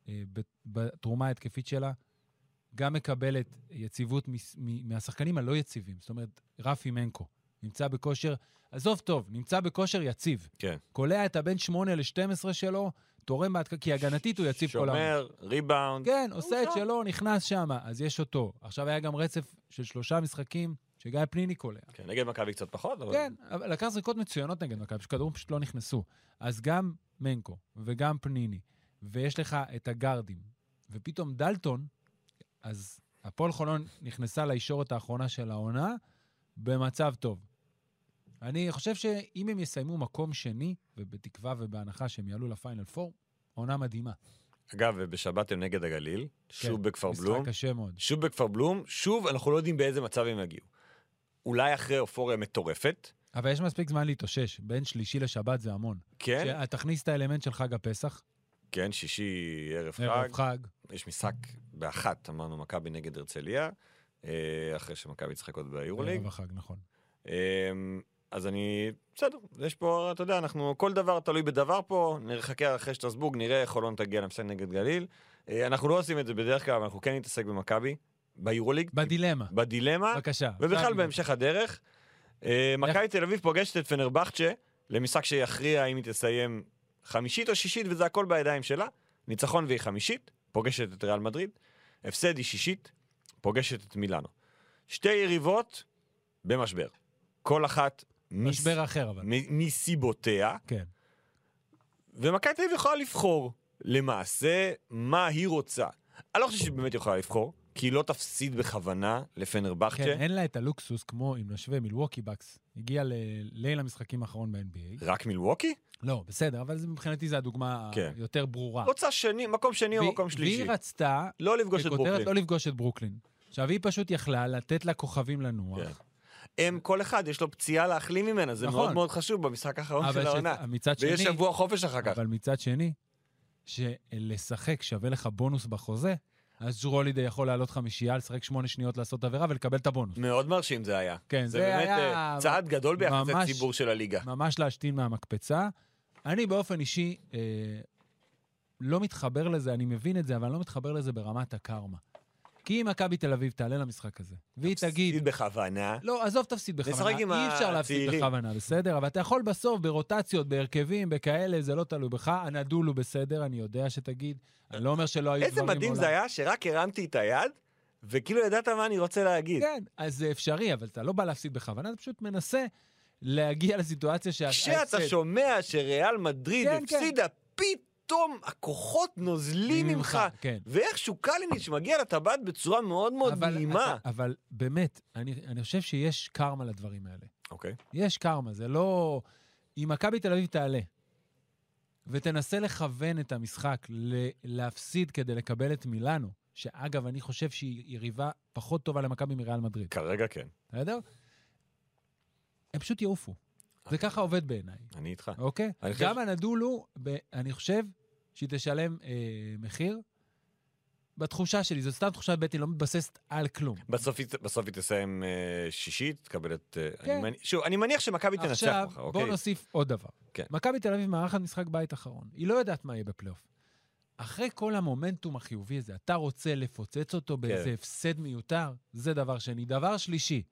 Speaker 2: אה, בת- בתרומה ההתקפית שלה, גם מקבלת יציבות מס- מ- מהשחקנים הלא יציבים. זאת אומרת, רפי מנקו נמצא בכושר, עזוב טוב, נמצא בכושר יציב.
Speaker 3: כן.
Speaker 2: קולע את הבן 8 ל-12 שלו, תורם בהתקפה, כי הגנתית הוא יציב כל העונה.
Speaker 3: שומר, ריבאונד.
Speaker 2: כן, עושה את שלו, נכנס שם, אז יש אותו. עכשיו היה גם רצף של שלושה משחקים שגיא פניני קולע.
Speaker 3: כן, נגד מכבי קצת פחות, אבל...
Speaker 2: כן, אבל לקח זריקות מצוינות נגד מכבי, שכדורים פשוט לא נכנסו. אז גם מנקו וגם פניני, ויש לך את הגארדים, ופתאום דלטון, אז הפועל חולון נכנסה לישורת האחרונה של העונה במצב טוב. אני חושב שאם הם יסיימו מקום שני, ובתקווה ובהנחה שהם יעלו לפיינל פור, עונה מדהימה.
Speaker 3: אגב, ובשבת הם נגד הגליל, שוב בכפר בלום.
Speaker 2: כן, משחק קשה מאוד.
Speaker 3: שוב בכפר בלום, שוב אנחנו לא יודעים באיזה מצב הם יגיעו. אולי אחרי אופוריה מטורפת,
Speaker 2: אבל יש מספיק זמן להתאושש, בין שלישי לשבת זה המון.
Speaker 3: כן,
Speaker 2: תכניס את האלמנט של חג הפסח,
Speaker 3: כן, שישי ערב חג,
Speaker 2: ערב חג,
Speaker 3: יש משחק באחת, אמרנו מכבי נגד הרצליה, אה, אחרי שמכבי תשחק עוד ביורוליג.
Speaker 2: ערב החג, נכון.
Speaker 3: אה, אז אני, בסדר, יש פה, אתה יודע, אנחנו, כל דבר תלוי בדבר פה, נחכה אחרי שטרסבורג, נראה איך חולון תגיע למשחק נגד גליל. אה, אנחנו לא עושים את זה בדרך כלל, אבל אנחנו כן נתעסק במכבי, ביורוליג,
Speaker 2: בדילמה.
Speaker 3: בדילמה.
Speaker 2: בבקשה.
Speaker 3: ובכלל
Speaker 2: עכשיו-
Speaker 3: בהמשך הדרך, אה, מכבי תל אביב פוגשת את פנרבכצ'ה למשחק שיכריע אם היא תסיים חמישית או שישית, וזה הכל בידיים שלה. ניצחון והיא חמישית, פוגשת את ריאל מדריד, הפסד היא שישית, פוגשת את מילאנו. שתי יריבות במשבר. כל אחת מס-
Speaker 2: משבר אחר, אבל.
Speaker 3: מ- מסיבותיה,
Speaker 2: כן.
Speaker 3: ומכבי תל אביב יכולה לבחור למעשה מה היא רוצה. אני לא חושב שהיא באמת יכולה לבחור, כי היא לא תפסיד בכוונה לפנרבכצ'ה.
Speaker 2: כן, אין לה את הלוקסוס כמו, אם נשווה, מילווקי בקס. הגיע לליל המשחקים האחרון ב-NBA.
Speaker 3: רק מילווקי?
Speaker 2: לא, בסדר, אבל זה- מבחינתי זו הדוגמה
Speaker 3: כן.
Speaker 2: היותר ברורה.
Speaker 3: רוצה שני, מקום שני או
Speaker 2: אה. והיא-
Speaker 3: מקום שלישי.
Speaker 2: והיא רצתה,
Speaker 3: לא לפגוש את
Speaker 2: ככותרת,
Speaker 3: ברוקלין.
Speaker 2: לא לפגוש את ברוקלין. עכשיו, היא פשוט יכלה לתת לכוכבים לנוח.
Speaker 3: כן. הם, כל אחד, יש לו פציעה להחלים ממנה, זה
Speaker 2: נכון.
Speaker 3: מאוד מאוד חשוב במשחק האחרון
Speaker 2: אבל
Speaker 3: של
Speaker 2: ש-
Speaker 3: העונה.
Speaker 2: מצד
Speaker 3: ויש
Speaker 2: שני-
Speaker 3: שבוע חופש אחר כך.
Speaker 2: אבל מצד שני, שלשחק שווה לך בונוס בחוזה, אז ג'רולידה יכול לעלות חמישייה, לשחק שמונה שניות, לעשות עבירה ולקבל את הבונוס.
Speaker 3: מאוד מרשים זה היה.
Speaker 2: כן,
Speaker 3: זה
Speaker 2: זה
Speaker 3: באמת
Speaker 2: היה-
Speaker 3: אה, צעד גדול ביחס
Speaker 2: ממש-
Speaker 3: לציבור של הליגה.
Speaker 2: ממש להשתין מהמקפצה. אני באופן אישי אה, לא מתחבר לזה, אני מבין את זה, אבל אני לא מתחבר לזה ברמת הקרמה. כי אם מכבי תל אביב תעלה למשחק הזה, והיא תגיד,
Speaker 3: תפסיד בכוונה.
Speaker 2: לא, עזוב, תפסיד בכוונה,
Speaker 3: נשחק עם
Speaker 2: אי אפשר להפסיד
Speaker 3: הצעירים.
Speaker 2: בכוונה, בסדר? אבל אתה יכול בסוף, ברוטציות, בהרכבים, בכאלה, זה לא תלוי בך. הנדול הוא בסדר, אני יודע שתגיד. אני לא אומר שלא היו דברים
Speaker 3: איזה מדהים זה
Speaker 2: מעולם.
Speaker 3: היה שרק הרמתי את היד, וכאילו ידעת מה אני רוצה להגיד.
Speaker 2: כן, אז זה אפשרי, אבל אתה לא בא להפסיד בכוונה, אתה פשוט מנסה להגיע לסיטואציה שה-
Speaker 3: כשאתה
Speaker 2: ההפסד-
Speaker 3: שומע שריאל מדריד
Speaker 2: כן, כן.
Speaker 3: הפסידה, פתאום הכוחות נוזלים ממך.
Speaker 2: כן.
Speaker 3: ואיכשהו קליניץ' מגיע לטבעת בצורה מאוד מאוד
Speaker 2: אבל-
Speaker 3: נעימה.
Speaker 2: אבל- אבל באמת, אני אני חושב שיש קרמה לדברים האלה.
Speaker 3: אוקיי.
Speaker 2: יש קרמה, זה לא... אם מכבי תל אביב תעלה ותנסה לכוון את המשחק ל- להפסיד כדי לקבל את מילאנו, שאגב, אני חושב שהיא יריבה פחות טובה למכבי מריאל מדריד,
Speaker 3: כרגע כן,
Speaker 2: בסדר? הם פשוט יעופו. זה ככה עובד בעיניי,
Speaker 3: אני איתך.
Speaker 2: אוקיי?
Speaker 3: אני חושב-
Speaker 2: גם הנדולו, ב- אני חושב שהיא תשלם אה, מחיר. בתחושה שלי, זו סתם תחושת בטן, לא מתבססת על כלום.
Speaker 3: בסוף היא- בסוף היא תסיים אה, שישית, תקבל את... אה,
Speaker 2: כן.
Speaker 3: אני מניח- שוב, אני מניח שמכבי תנצח
Speaker 2: עכשיו,
Speaker 3: מחר,
Speaker 2: בואו
Speaker 3: אוקיי?
Speaker 2: נוסיף עוד דבר.
Speaker 3: כן.
Speaker 2: מכבי תל אביב מארחת משחק בית אחרון. היא לא יודעת מה יהיה בפלייאוף. אחרי כל המומנטום החיובי הזה, אתה רוצה לפוצץ
Speaker 3: כן.
Speaker 2: אותו באיזה הפסד מיותר? זה דבר שני. דבר שלישי,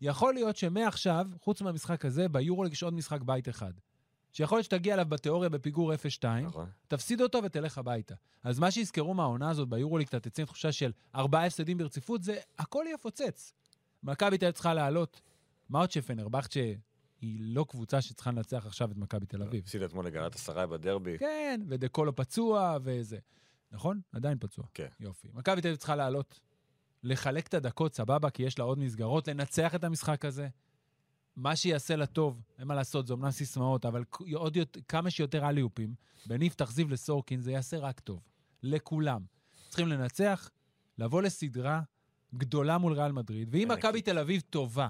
Speaker 2: יכול להיות שמעכשיו, חוץ מהמשחק הזה, ביורוליג יש עוד משחק בית אחד. שיכול להיות שתגיע אליו בתיאוריה בפיגור 0-2,
Speaker 3: נכון.
Speaker 2: תפסיד אותו ותלך הביתה. אז מה שיזכרו מהעונה הזאת ביורוליג, אתה תצא עם תחושה של ארבעה הפסדים ברציפות, זה הכל יפוצץ. מכבי תל אביב צריכה לעלות. מה עוד שפנרבכצ'ה היא לא קבוצה שצריכה לנצח עכשיו את מכבי תל אביב.
Speaker 3: הפסיד אתמול לגלת עשרה בדרבי.
Speaker 2: כן, ודקולו פצוע וזה. נכון? עדיין פצוע.
Speaker 3: כן.
Speaker 2: יופי. מכבי תל אביב צריכה לעלות, לחלק את הדקות, סבבה, כי יש לה עוד מסגרות, לנצח את המשחק הזה. מה שיעשה לה טוב, אין מה לעשות, זה אומנם סיסמאות, אבל כ- עוד יותר, כמה שיותר אליופים, בין יפתח זיו לסורקין, זה יעשה רק טוב. לכולם. צריכים לנצח, לבוא לסדרה גדולה מול ריאל מדריד, ואם
Speaker 3: ענקית.
Speaker 2: מכבי תל אביב טובה,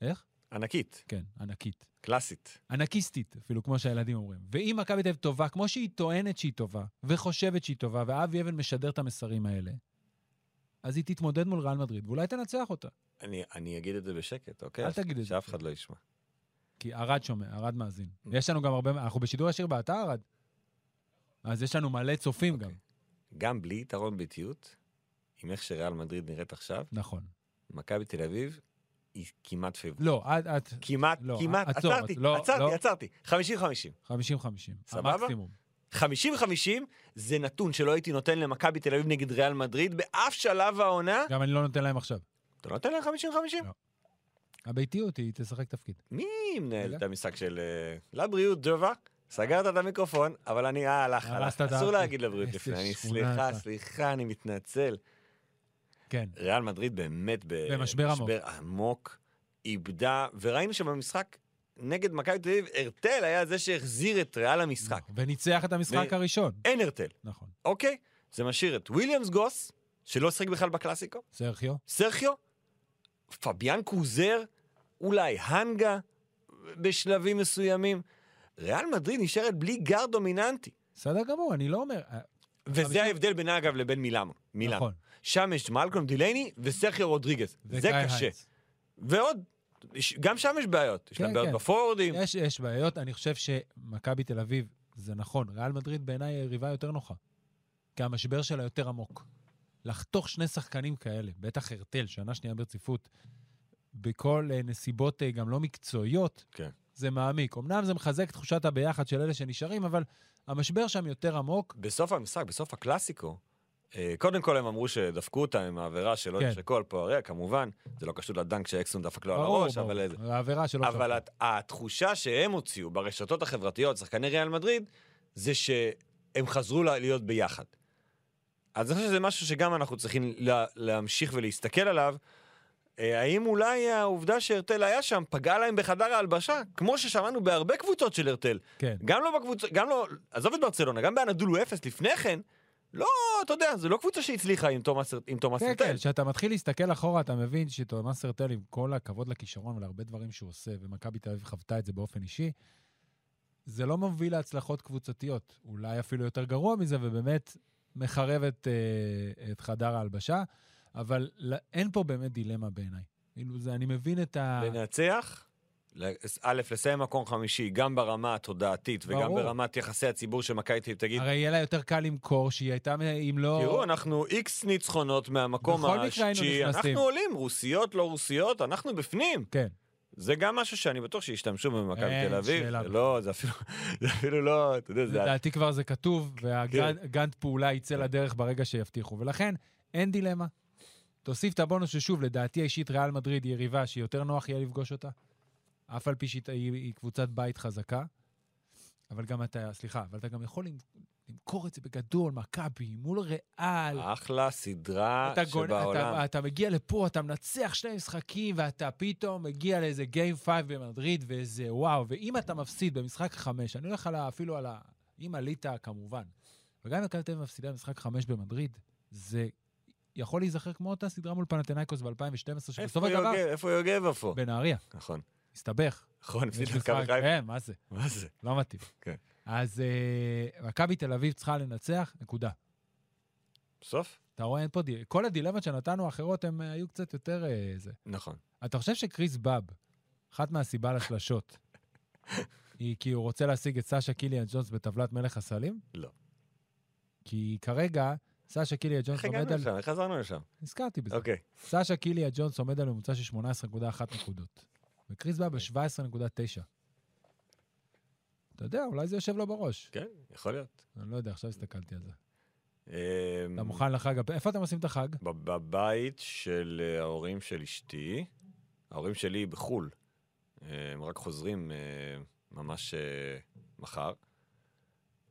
Speaker 2: איך?
Speaker 3: ענקית,
Speaker 2: כן, ענקית.
Speaker 3: קלאסית.
Speaker 2: ענקיסטית, אפילו כמו שהילדים אומרים. ואם מכבי תל אביב טובה, כמו שהיא טוענת שהיא טובה, וחושבת שהיא טובה, ואבי אבן משדר את המסרים האלה, אז היא תתמודד מול ריאל מדריד, ואולי תנצח אותה.
Speaker 3: אני, אני אגיד את זה בשקט, אוקיי?
Speaker 2: אל תגיד את זה.
Speaker 3: שאף אחד לא ישמע.
Speaker 2: כי ערד שומע, ערד מאזין.
Speaker 3: Mm.
Speaker 2: יש לנו גם הרבה, אנחנו בשידור ישיר באתר ערד. אז יש לנו מלא צופים
Speaker 3: אוקיי.
Speaker 2: גם.
Speaker 3: גם בלי יתרון ביתיות, עם איך שריאל מדריד נראית עכשיו,
Speaker 2: נכון.
Speaker 3: מכבי תל אביב היא כמעט פייבוריט.
Speaker 2: לא, את, את,
Speaker 3: כמעט,
Speaker 2: לא,
Speaker 3: כמעט,
Speaker 2: עצור,
Speaker 3: עצרתי,
Speaker 2: לא, לא.
Speaker 3: עצרתי, עצרתי. 50-50.
Speaker 2: 50-50.
Speaker 3: סבבה?
Speaker 2: המקסימום.
Speaker 3: 50-50 זה נתון שלא הייתי נותן למכבי תל אביב נגד ריאל מדריד באף שלב העונה.
Speaker 2: גם אני לא נותן להם עכשיו.
Speaker 3: אתה לא נותן להם 50-50?
Speaker 2: לא. הביתיות היא תשחק תפקיד.
Speaker 3: מי מנהל
Speaker 2: רגע.
Speaker 3: את המשחק של... אה, לבריאות, ג'ובה. סגרת את המיקרופון, אבל אני... אה, הלך,
Speaker 2: הרסת
Speaker 3: הלך.
Speaker 2: את
Speaker 3: אסור
Speaker 2: האף.
Speaker 3: להגיד לבריאות
Speaker 2: איזה
Speaker 3: לפני. אני
Speaker 2: שכונה
Speaker 3: סליחה,
Speaker 2: אתה.
Speaker 3: סליחה, אני מתנצל.
Speaker 2: כן.
Speaker 3: ריאל מדריד באמת ב-
Speaker 2: במשבר עמוק.
Speaker 3: משבר עמוק, איבדה, וראינו שבמשחק נגד מכבי תל אביב, הרטל היה זה שהחזיר את ריאל למשחק.
Speaker 2: וניצח את המשחק
Speaker 3: ו-
Speaker 2: הראשון.
Speaker 3: אין הרטל,
Speaker 2: נכון.
Speaker 3: אוקיי? זה משאיר את וויליאמס גוס, שלא שיחק בכלל בקלאסיקו,
Speaker 2: סרחיו?
Speaker 3: סרחיו, פביאן קוזר, אולי הנגה בשלבים מסוימים. ריאל מדריד נשארת בלי גר דומיננטי.
Speaker 2: בסדר גמור, אני לא אומר... אה, חמישים-
Speaker 3: וזה ההבדל בין אגב לבין מילאנו. מילאנו.
Speaker 2: נכון.
Speaker 3: שם יש מלקום דילני וסרחיו רודריגז. זה
Speaker 2: וקאי
Speaker 3: קשה.
Speaker 2: הייטס.
Speaker 3: ועוד, יש- גם שם יש בעיות. יש
Speaker 2: כן,
Speaker 3: להם בעיות
Speaker 2: כן.
Speaker 3: בפורורדים.
Speaker 2: יש, יש בעיות, אני חושב שמכבי תל אביב, זה נכון, ריאל מדריד בעיניי היא יריבה יותר נוחה. כי המשבר שלה יותר עמוק. לחתוך שני שחקנים כאלה, בטח הרטל, שנה שנייה ברציפות, בכל אה, נסיבות אה, גם לא מקצועיות,
Speaker 3: כן.
Speaker 2: זה מעמיק. אמנם זה מחזק את תחושת הביחד של אלה שנשארים, אבל המשבר שם יותר עמוק.
Speaker 3: בסוף המשחק, בסוף הקלאסיקו, אה, קודם כל הם אמרו שדפקו אותם עם העבירה של
Speaker 2: כן.
Speaker 3: עונש כן. הכל פה, הרי כמובן, זה לא קשור לדנק שאקסון דפק לו לא, על
Speaker 2: ברור,
Speaker 3: הראש,
Speaker 2: ברור.
Speaker 3: אבל איזה...
Speaker 2: העבירה שלא
Speaker 3: אבל
Speaker 2: שווה.
Speaker 3: הת- התחושה שהם הוציאו ברשתות החברתיות, שחקני ריאל מדריד, זה שהם חזרו לה- להיות ביחד. אז אני חושב שזה משהו שגם אנחנו צריכים לה, להמשיך ולהסתכל עליו. אה, האם אולי העובדה שהרטל היה שם פגעה להם בחדר ההלבשה, כמו ששמענו בהרבה קבוצות של הרטל?
Speaker 2: כן.
Speaker 3: גם לא בקבוצה, גם לא, עזוב את ברצלונה, גם באנדולו אפס לפני כן, לא, אתה יודע, זו לא קבוצה שהצליחה עם תומאס עם תומאס
Speaker 2: כן,
Speaker 3: הרטל.
Speaker 2: כן, כשאתה מתחיל להסתכל אחורה, אתה מבין שתומאס הרטל, עם כל הכבוד לכישרון ולהרבה דברים שהוא עושה, ומכבי תל אביב חוותה את זה באופן אישי, זה לא מוביל להצלחות קבוצתיות. אולי אפילו יותר גרוע מזה, ובאמת מחרב את, אה, את חדר ההלבשה, אבל לא- אין פה באמת דילמה בעיניי. כאילו, זה, אני מבין את ה...
Speaker 3: לנצח, ל- א', לסיים מקום חמישי, גם ברמה התודעתית וגם
Speaker 2: ברור.
Speaker 3: ברמת יחסי הציבור שמכבי תל אביב תגיד,
Speaker 2: הרי יהיה לה יותר קל למכור, שהיא הייתה, אם לא...
Speaker 3: תראו, אנחנו איקס ניצחונות מהמקום
Speaker 2: בכל מקרה היינו
Speaker 3: השלישי,
Speaker 2: נכנסים.
Speaker 3: אנחנו עולים, רוסיות, לא רוסיות, אנחנו בפנים.
Speaker 2: כן,
Speaker 3: זה גם משהו שאני בטוח שישתמשו במכבי
Speaker 2: אין
Speaker 3: תל אביב.
Speaker 2: שאלה
Speaker 3: זה לא, זה אפילו, זה אפילו לא, אתה יודע, זה... כן.
Speaker 2: לדעתי כבר זה כתוב, והגאנט פעולה יצא לדרך ברגע שיבטיחו. ולכן, אין דילמה. תוסיף את הבונוס ששוב, לדעתי האישית ריאל מדריד היא יריבה שיותר נוח יהיה לפגוש אותה, אף על פי שהיא היא- היא קבוצת בית חזקה. אבל גם אתה, סליחה, אבל אתה גם יכול למ- למכור את זה בגדול, מכבי, מול ריאל.
Speaker 3: אחלה סדרה
Speaker 2: אתה, אה, גונ...
Speaker 3: שבעולם.
Speaker 2: אתה, אתה מגיע לפה, אתה מנצח שני משחקים, ואתה פתאום מגיע לאיזה גיים פייב במדריד, ואיזה וואו. ואם אתה מפסיד במשחק חמש, אני הולך על ה... אפילו על ה... אם עלית, כמובן. וגם אם מכבי תל אביב מפסידה במשחק חמש במדריד, זה יכול להיזכר כמו אותה סדרה מול פנתנאיקוס ב-2012, שבסוף
Speaker 3: איפה
Speaker 2: הדבר,
Speaker 3: יוגב? איפה יוגב אפו?
Speaker 2: בנהריה,
Speaker 3: נכון.
Speaker 2: הסתבך.
Speaker 3: נכון, הפסיד
Speaker 2: יש
Speaker 3: למכבי
Speaker 2: משחק-
Speaker 3: חיפה.
Speaker 2: כן, מה זה?
Speaker 3: מה זה?
Speaker 2: לא מתאים.
Speaker 3: כן.
Speaker 2: אז אה, מכבי תל אביב צריכה לנצח, נקודה.
Speaker 3: בסוף?
Speaker 2: אתה רואה, אין פה... דיל- כל הדילמות שנתנו האחרות, הן אה, היו קצת יותר אה, זה.
Speaker 3: נכון.
Speaker 2: אתה חושב שקריס באב, אחת מהסיבה לשלשות, היא כי הוא רוצה להשיג את סאשה קיליאן ג'ונס בטבלת מלך הסלים?
Speaker 3: לא.
Speaker 2: כי כרגע סאשה קיליאן ג'ונס
Speaker 3: איך
Speaker 2: עומד
Speaker 3: הגענו
Speaker 2: על...
Speaker 3: לשם? איך חזרנו לשם?
Speaker 2: נזכרתי בזה.
Speaker 3: אוקיי.
Speaker 2: סאשה קיליאן ג'ונס עומד על ממוצע של 18.1 נקודות, וקריס באב ב-17.9. אתה יודע, אולי זה יושב לו בראש.
Speaker 3: כן, יכול להיות.
Speaker 2: אני לא יודע, עכשיו הסתכלתי על זה.
Speaker 3: אמ,
Speaker 2: אתה מוכן לחג? הפ- איפה אתם עושים את החג?
Speaker 3: בב- בבית של אה, ההורים של אשתי, ההורים שלי בחו"ל. אה, הם רק חוזרים אה, ממש אה, מחר,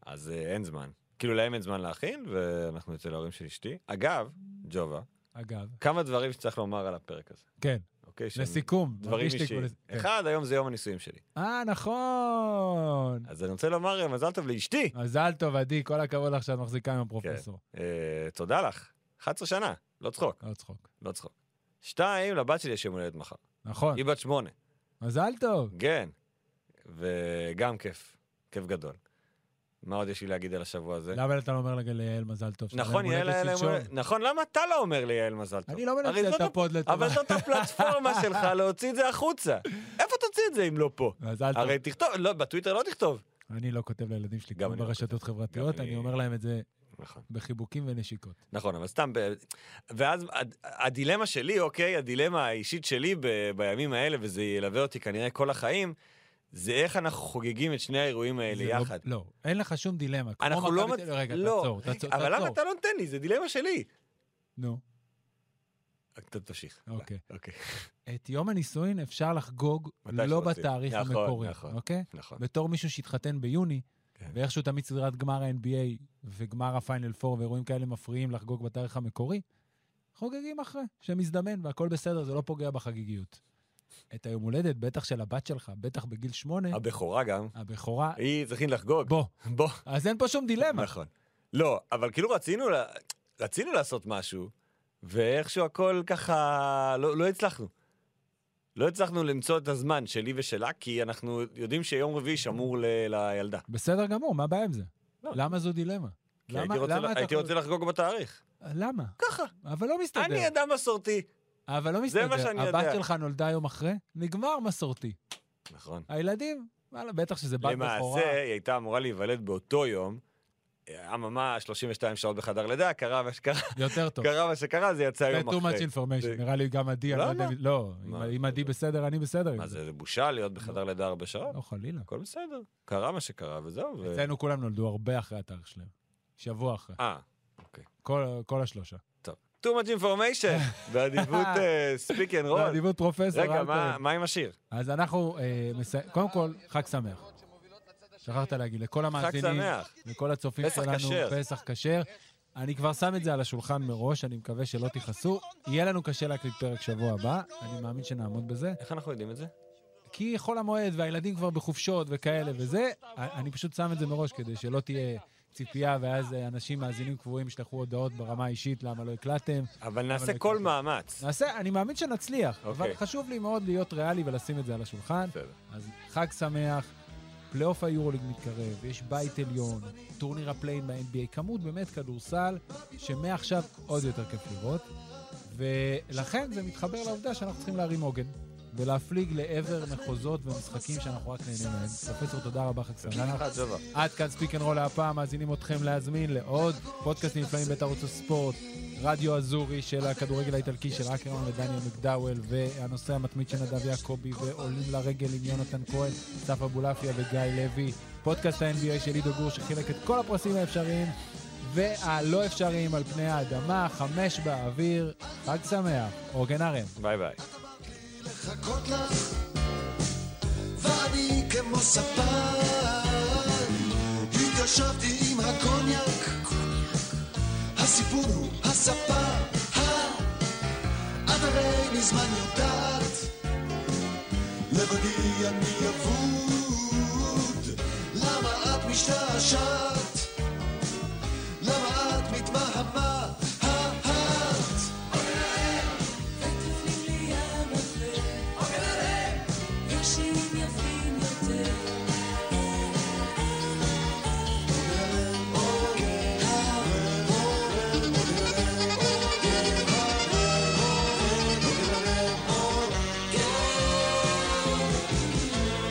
Speaker 3: אז אה, אין זמן. כאילו להם אין זמן להכין, ואנחנו אצל ההורים של אשתי. אגב, ג'ובה,
Speaker 2: אגב.
Speaker 3: כמה דברים שצריך לומר על הפרק הזה,
Speaker 2: כן,
Speaker 3: אוקיי? שהם
Speaker 2: לסיכום.
Speaker 3: דברים
Speaker 2: מרגיש לי
Speaker 3: אישיים.
Speaker 2: כבר לס- כן.
Speaker 3: אחד, היום זה יום הנישואים שלי.
Speaker 2: אה, נכון.
Speaker 3: אז אני רוצה לומר אה, מזל טוב לאשתי.
Speaker 2: מזל טוב, עדי, כל הכבוד לך שאת מחזיקה עם הפרופסור.
Speaker 3: אה, תודה לך. 11 שנה, לא צחוק,
Speaker 2: לא צחוק.
Speaker 3: לא צחוק. שתיים, לבת שלי יש יום הולדת מחר.
Speaker 2: נכון,
Speaker 3: היא בת שמונה.
Speaker 2: מזל טוב.
Speaker 3: כן, וגם כיף, כיף גדול. מה עוד יש לי להגיד על השבוע הזה?
Speaker 2: למה אתה לא אומר לג- ליאל מזל טוב? שזה
Speaker 3: כן. נכון,
Speaker 2: יום
Speaker 3: יעל,
Speaker 2: הולדת
Speaker 3: יעל,
Speaker 2: שלשום?
Speaker 3: יעל, נכון, למה אתה לא אומר לי יעל מזל טוב?
Speaker 2: אני לא
Speaker 3: הרי
Speaker 2: מנצל
Speaker 3: זאת
Speaker 2: את הפוד
Speaker 3: הפ- אבל
Speaker 2: לטובה.
Speaker 3: זאת הפלטפורמה שלך להוציא את זה החוצה. איפה תוציא את זה אם לא פה?
Speaker 2: מזל טוב.
Speaker 3: הרי תכתוב, לא, בטוויטר לא תכתוב.
Speaker 2: אני לא כותב לילדים שלי
Speaker 3: גם
Speaker 2: כמו
Speaker 3: אני לא
Speaker 2: ברשתות חברתיות,
Speaker 3: גם אני-
Speaker 2: אני אומר להם את זה
Speaker 3: נכון.
Speaker 2: בחיבוקים ונשיקות.
Speaker 3: נכון, אבל סתם, ב... ואז הד- הדילמה שלי, אוקיי, הדילמה האישית שלי ב... בימים האלה, וזה ילווה אותי כנראה כל החיים, זה איך אנחנו חוגגים את שני האירועים האלה
Speaker 2: זה
Speaker 3: יחד.
Speaker 2: לא, לא, אין לך שום דילמה. כמו
Speaker 3: אנחנו לא...
Speaker 2: מכבי
Speaker 3: מצ-
Speaker 2: תל- רגע,
Speaker 3: לא,
Speaker 2: תעצור,
Speaker 3: רגע,
Speaker 2: תעצור.
Speaker 3: אבל למה
Speaker 2: תעצור.
Speaker 3: אתה לא נותן לי? זה דילמה שלי.
Speaker 2: נו,
Speaker 3: אתה תמשיך.
Speaker 2: אוקיי.
Speaker 3: אוקיי,
Speaker 2: את יום הנישואין אפשר לחגוג
Speaker 3: מתי
Speaker 2: לא
Speaker 3: שרוצים.
Speaker 2: בתאריך
Speaker 3: נכון,
Speaker 2: המקורי,
Speaker 3: נכון.
Speaker 2: אוקיי?
Speaker 3: נכון.
Speaker 2: בתור מישהו שהתחתן ביוני,
Speaker 3: כן.
Speaker 2: ואיכשהו תמיד סדרת גמר ה-NBA וגמר הפיינל 4 ואירועים כאלה מפריעים לחגוג בתאריך המקורי, חוגגים אחרי, שמזדמן והכל בסדר, זה לא פוגע בחגיגיות. את היום הולדת, בטח של הבת שלך, בטח בגיל שמונה,
Speaker 3: הבכורה גם,
Speaker 2: הבכורה,
Speaker 3: היא צריכים לחגוג.
Speaker 2: בוא.
Speaker 3: בוא.
Speaker 2: אז אין פה שום דילמה.
Speaker 3: אה, נכון. לא, אבל כאילו רצינו, ל- רצינו לעשות משהו, ואיכשהו הכל ככה, לא, לא הצלחנו. לא הצלחנו למצוא את הזמן שלי ושלה, כי אנחנו יודעים שיום רביעי שמור ל, לילדה.
Speaker 2: בסדר גמור, מה הבעיה עם זה?
Speaker 3: לא.
Speaker 2: למה זו דילמה?
Speaker 3: כי הייתי רוצה,
Speaker 2: למה אתה
Speaker 3: הייתי
Speaker 2: חו-
Speaker 3: רוצה לחגוג בתאריך.
Speaker 2: למה?
Speaker 3: ככה.
Speaker 2: אבל לא מסתדר.
Speaker 3: אני אדם מסורתי.
Speaker 2: אבל לא
Speaker 3: זה
Speaker 2: מסתדר.
Speaker 3: מה שאני יודע.
Speaker 2: הבת שלך נולדה יום אחרי, נגמר מסורתי.
Speaker 3: נכון.
Speaker 2: הילדים, וואלה, בטח שזה בת בכורה.
Speaker 3: למעשה, היא הייתה אמורה להיוולד באותו יום. אה, אממה, 32 שעות בחדר לידה, קרה מה שקרה,
Speaker 2: יותר טוב.
Speaker 3: קרה מה שקרה, זה יצא
Speaker 2: זה
Speaker 3: יום
Speaker 2: too much
Speaker 3: אחרי.
Speaker 2: information,
Speaker 3: זה-
Speaker 2: נראה לי גם עדי, אני לא יודע,
Speaker 3: למה?
Speaker 2: לא,
Speaker 3: מה?
Speaker 2: אם- אם עדי בסדר, אני בסדר עם
Speaker 3: מה
Speaker 2: זה.
Speaker 3: זה, זה בושה להיות בחדר לידה הרבה שעות?
Speaker 2: לא, חלילה.
Speaker 3: הכל בסדר. קרה מה שקרה, וזהו. ו-
Speaker 2: אצלנו כולם נולדו הרבה אחרי התאריך שלהם. שבוע אחרי.
Speaker 3: אה,
Speaker 2: כל- כל השלושה.
Speaker 3: טוב. too much information, באדיבות אה, speak and roll.
Speaker 2: באדיבות לא, פרופסור
Speaker 3: רגע,
Speaker 2: אלפרין.
Speaker 3: מה- מה עם השיר?
Speaker 2: אז אנחנו, אה, מסי- קודם כל, חג שמח. שכחת להגיד, לכל המאזינים,
Speaker 3: שמח.
Speaker 2: לכל הצופים
Speaker 3: פסח
Speaker 2: שלנו,
Speaker 3: כשר.
Speaker 2: פסח כשר. אני כבר שם את זה על השולחן מראש, אני מקווה שלא תכעסו. יהיה לנו קשה להקליט פרק שבוע הבא, אני מאמין שנעמוד בזה.
Speaker 3: איך אנחנו יודעים את זה?
Speaker 2: כי חול המועד והילדים כבר בחופשות וכאלה וזה, אני פשוט שם את זה מראש כדי שלא תהיה ציפייה, ואז אה, אנשים מאזינים קבועים ישלחו הודעות ברמה האישית למה לא הקלטתם.
Speaker 3: אבל נעשה
Speaker 2: לא
Speaker 3: כל
Speaker 2: הכרתי.
Speaker 3: מאמץ.
Speaker 2: נעשה, אני מאמין שנצליח, אבל
Speaker 3: אוקיי.
Speaker 2: חשוב לי מאוד להיות ריאלי ולשים את זה על השולחן.
Speaker 3: בסדר.
Speaker 2: אז חג שמח, פלייאוף היורוליג מתקרב, יש בית עליון, טורניר הפליין ב-NBA, כמות באמת כדורסל, שמעכשיו עוד יותר כיף לראות, ולכן זה מתחבר לעובדה שאנחנו צריכים להרים עוגן. ולהפליג לעבר מחוזות ומשחקים שאנחנו רק נהנים מהם. פרופסור, תודה רבה, חג שמח.
Speaker 3: אה, טוב.
Speaker 2: עד כאן ספיק אנד רול הפעם, מאזינים אתכם להזמין לעוד פודקאסטים נפלאים בית ערוץ הספורט, רדיו אזורי של הכדורגל האיטלקי של אקרמן ודניאל מקדאוול, והנושא המתמיד של נדב יעקבי, ועולים לרגל עם יונתן כהן, אסף אבולעפיה וגיא לוי, פודקאסט ה-NBA של עידו גור שחילק את כל הפרסים האפשריים והלא אפשריים על פני האדמה, חמש באוויר, חג שמח, אורגן ארם.
Speaker 3: ביי ביי.
Speaker 4: לחכות לך, ואני כמו ספן. התיישבתי עם הקוניאק, הסיפור הוא הספה. את הרי מזמן יודעת, לבדי אני אבוד. למה את משתעשעת? למה את מתמהמת?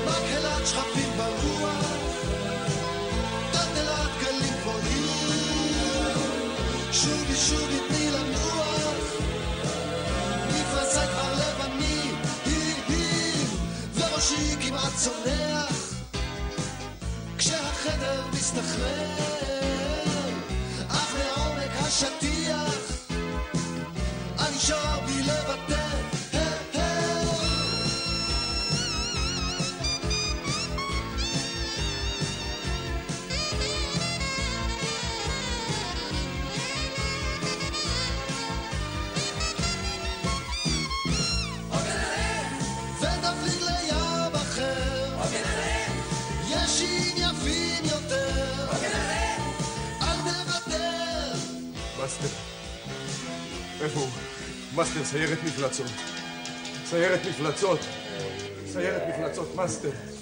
Speaker 4: מקהלת שכפים ברוח, טלטלת גלים גבוהים. שובי שובי תני לנוח, נפרסה כבר לבנים, וראשי כמעט צונח, מסתחרר, אך מעומק השטיח, המישור מלוותר. ונפליג לים אחר, יש עם יפים יותר, אל נוותר.
Speaker 5: מאסטר. איפה הוא? מאסטר, סיירת מפלצות. סיירת מפלצות. סיירת מפלצות, מאסטר.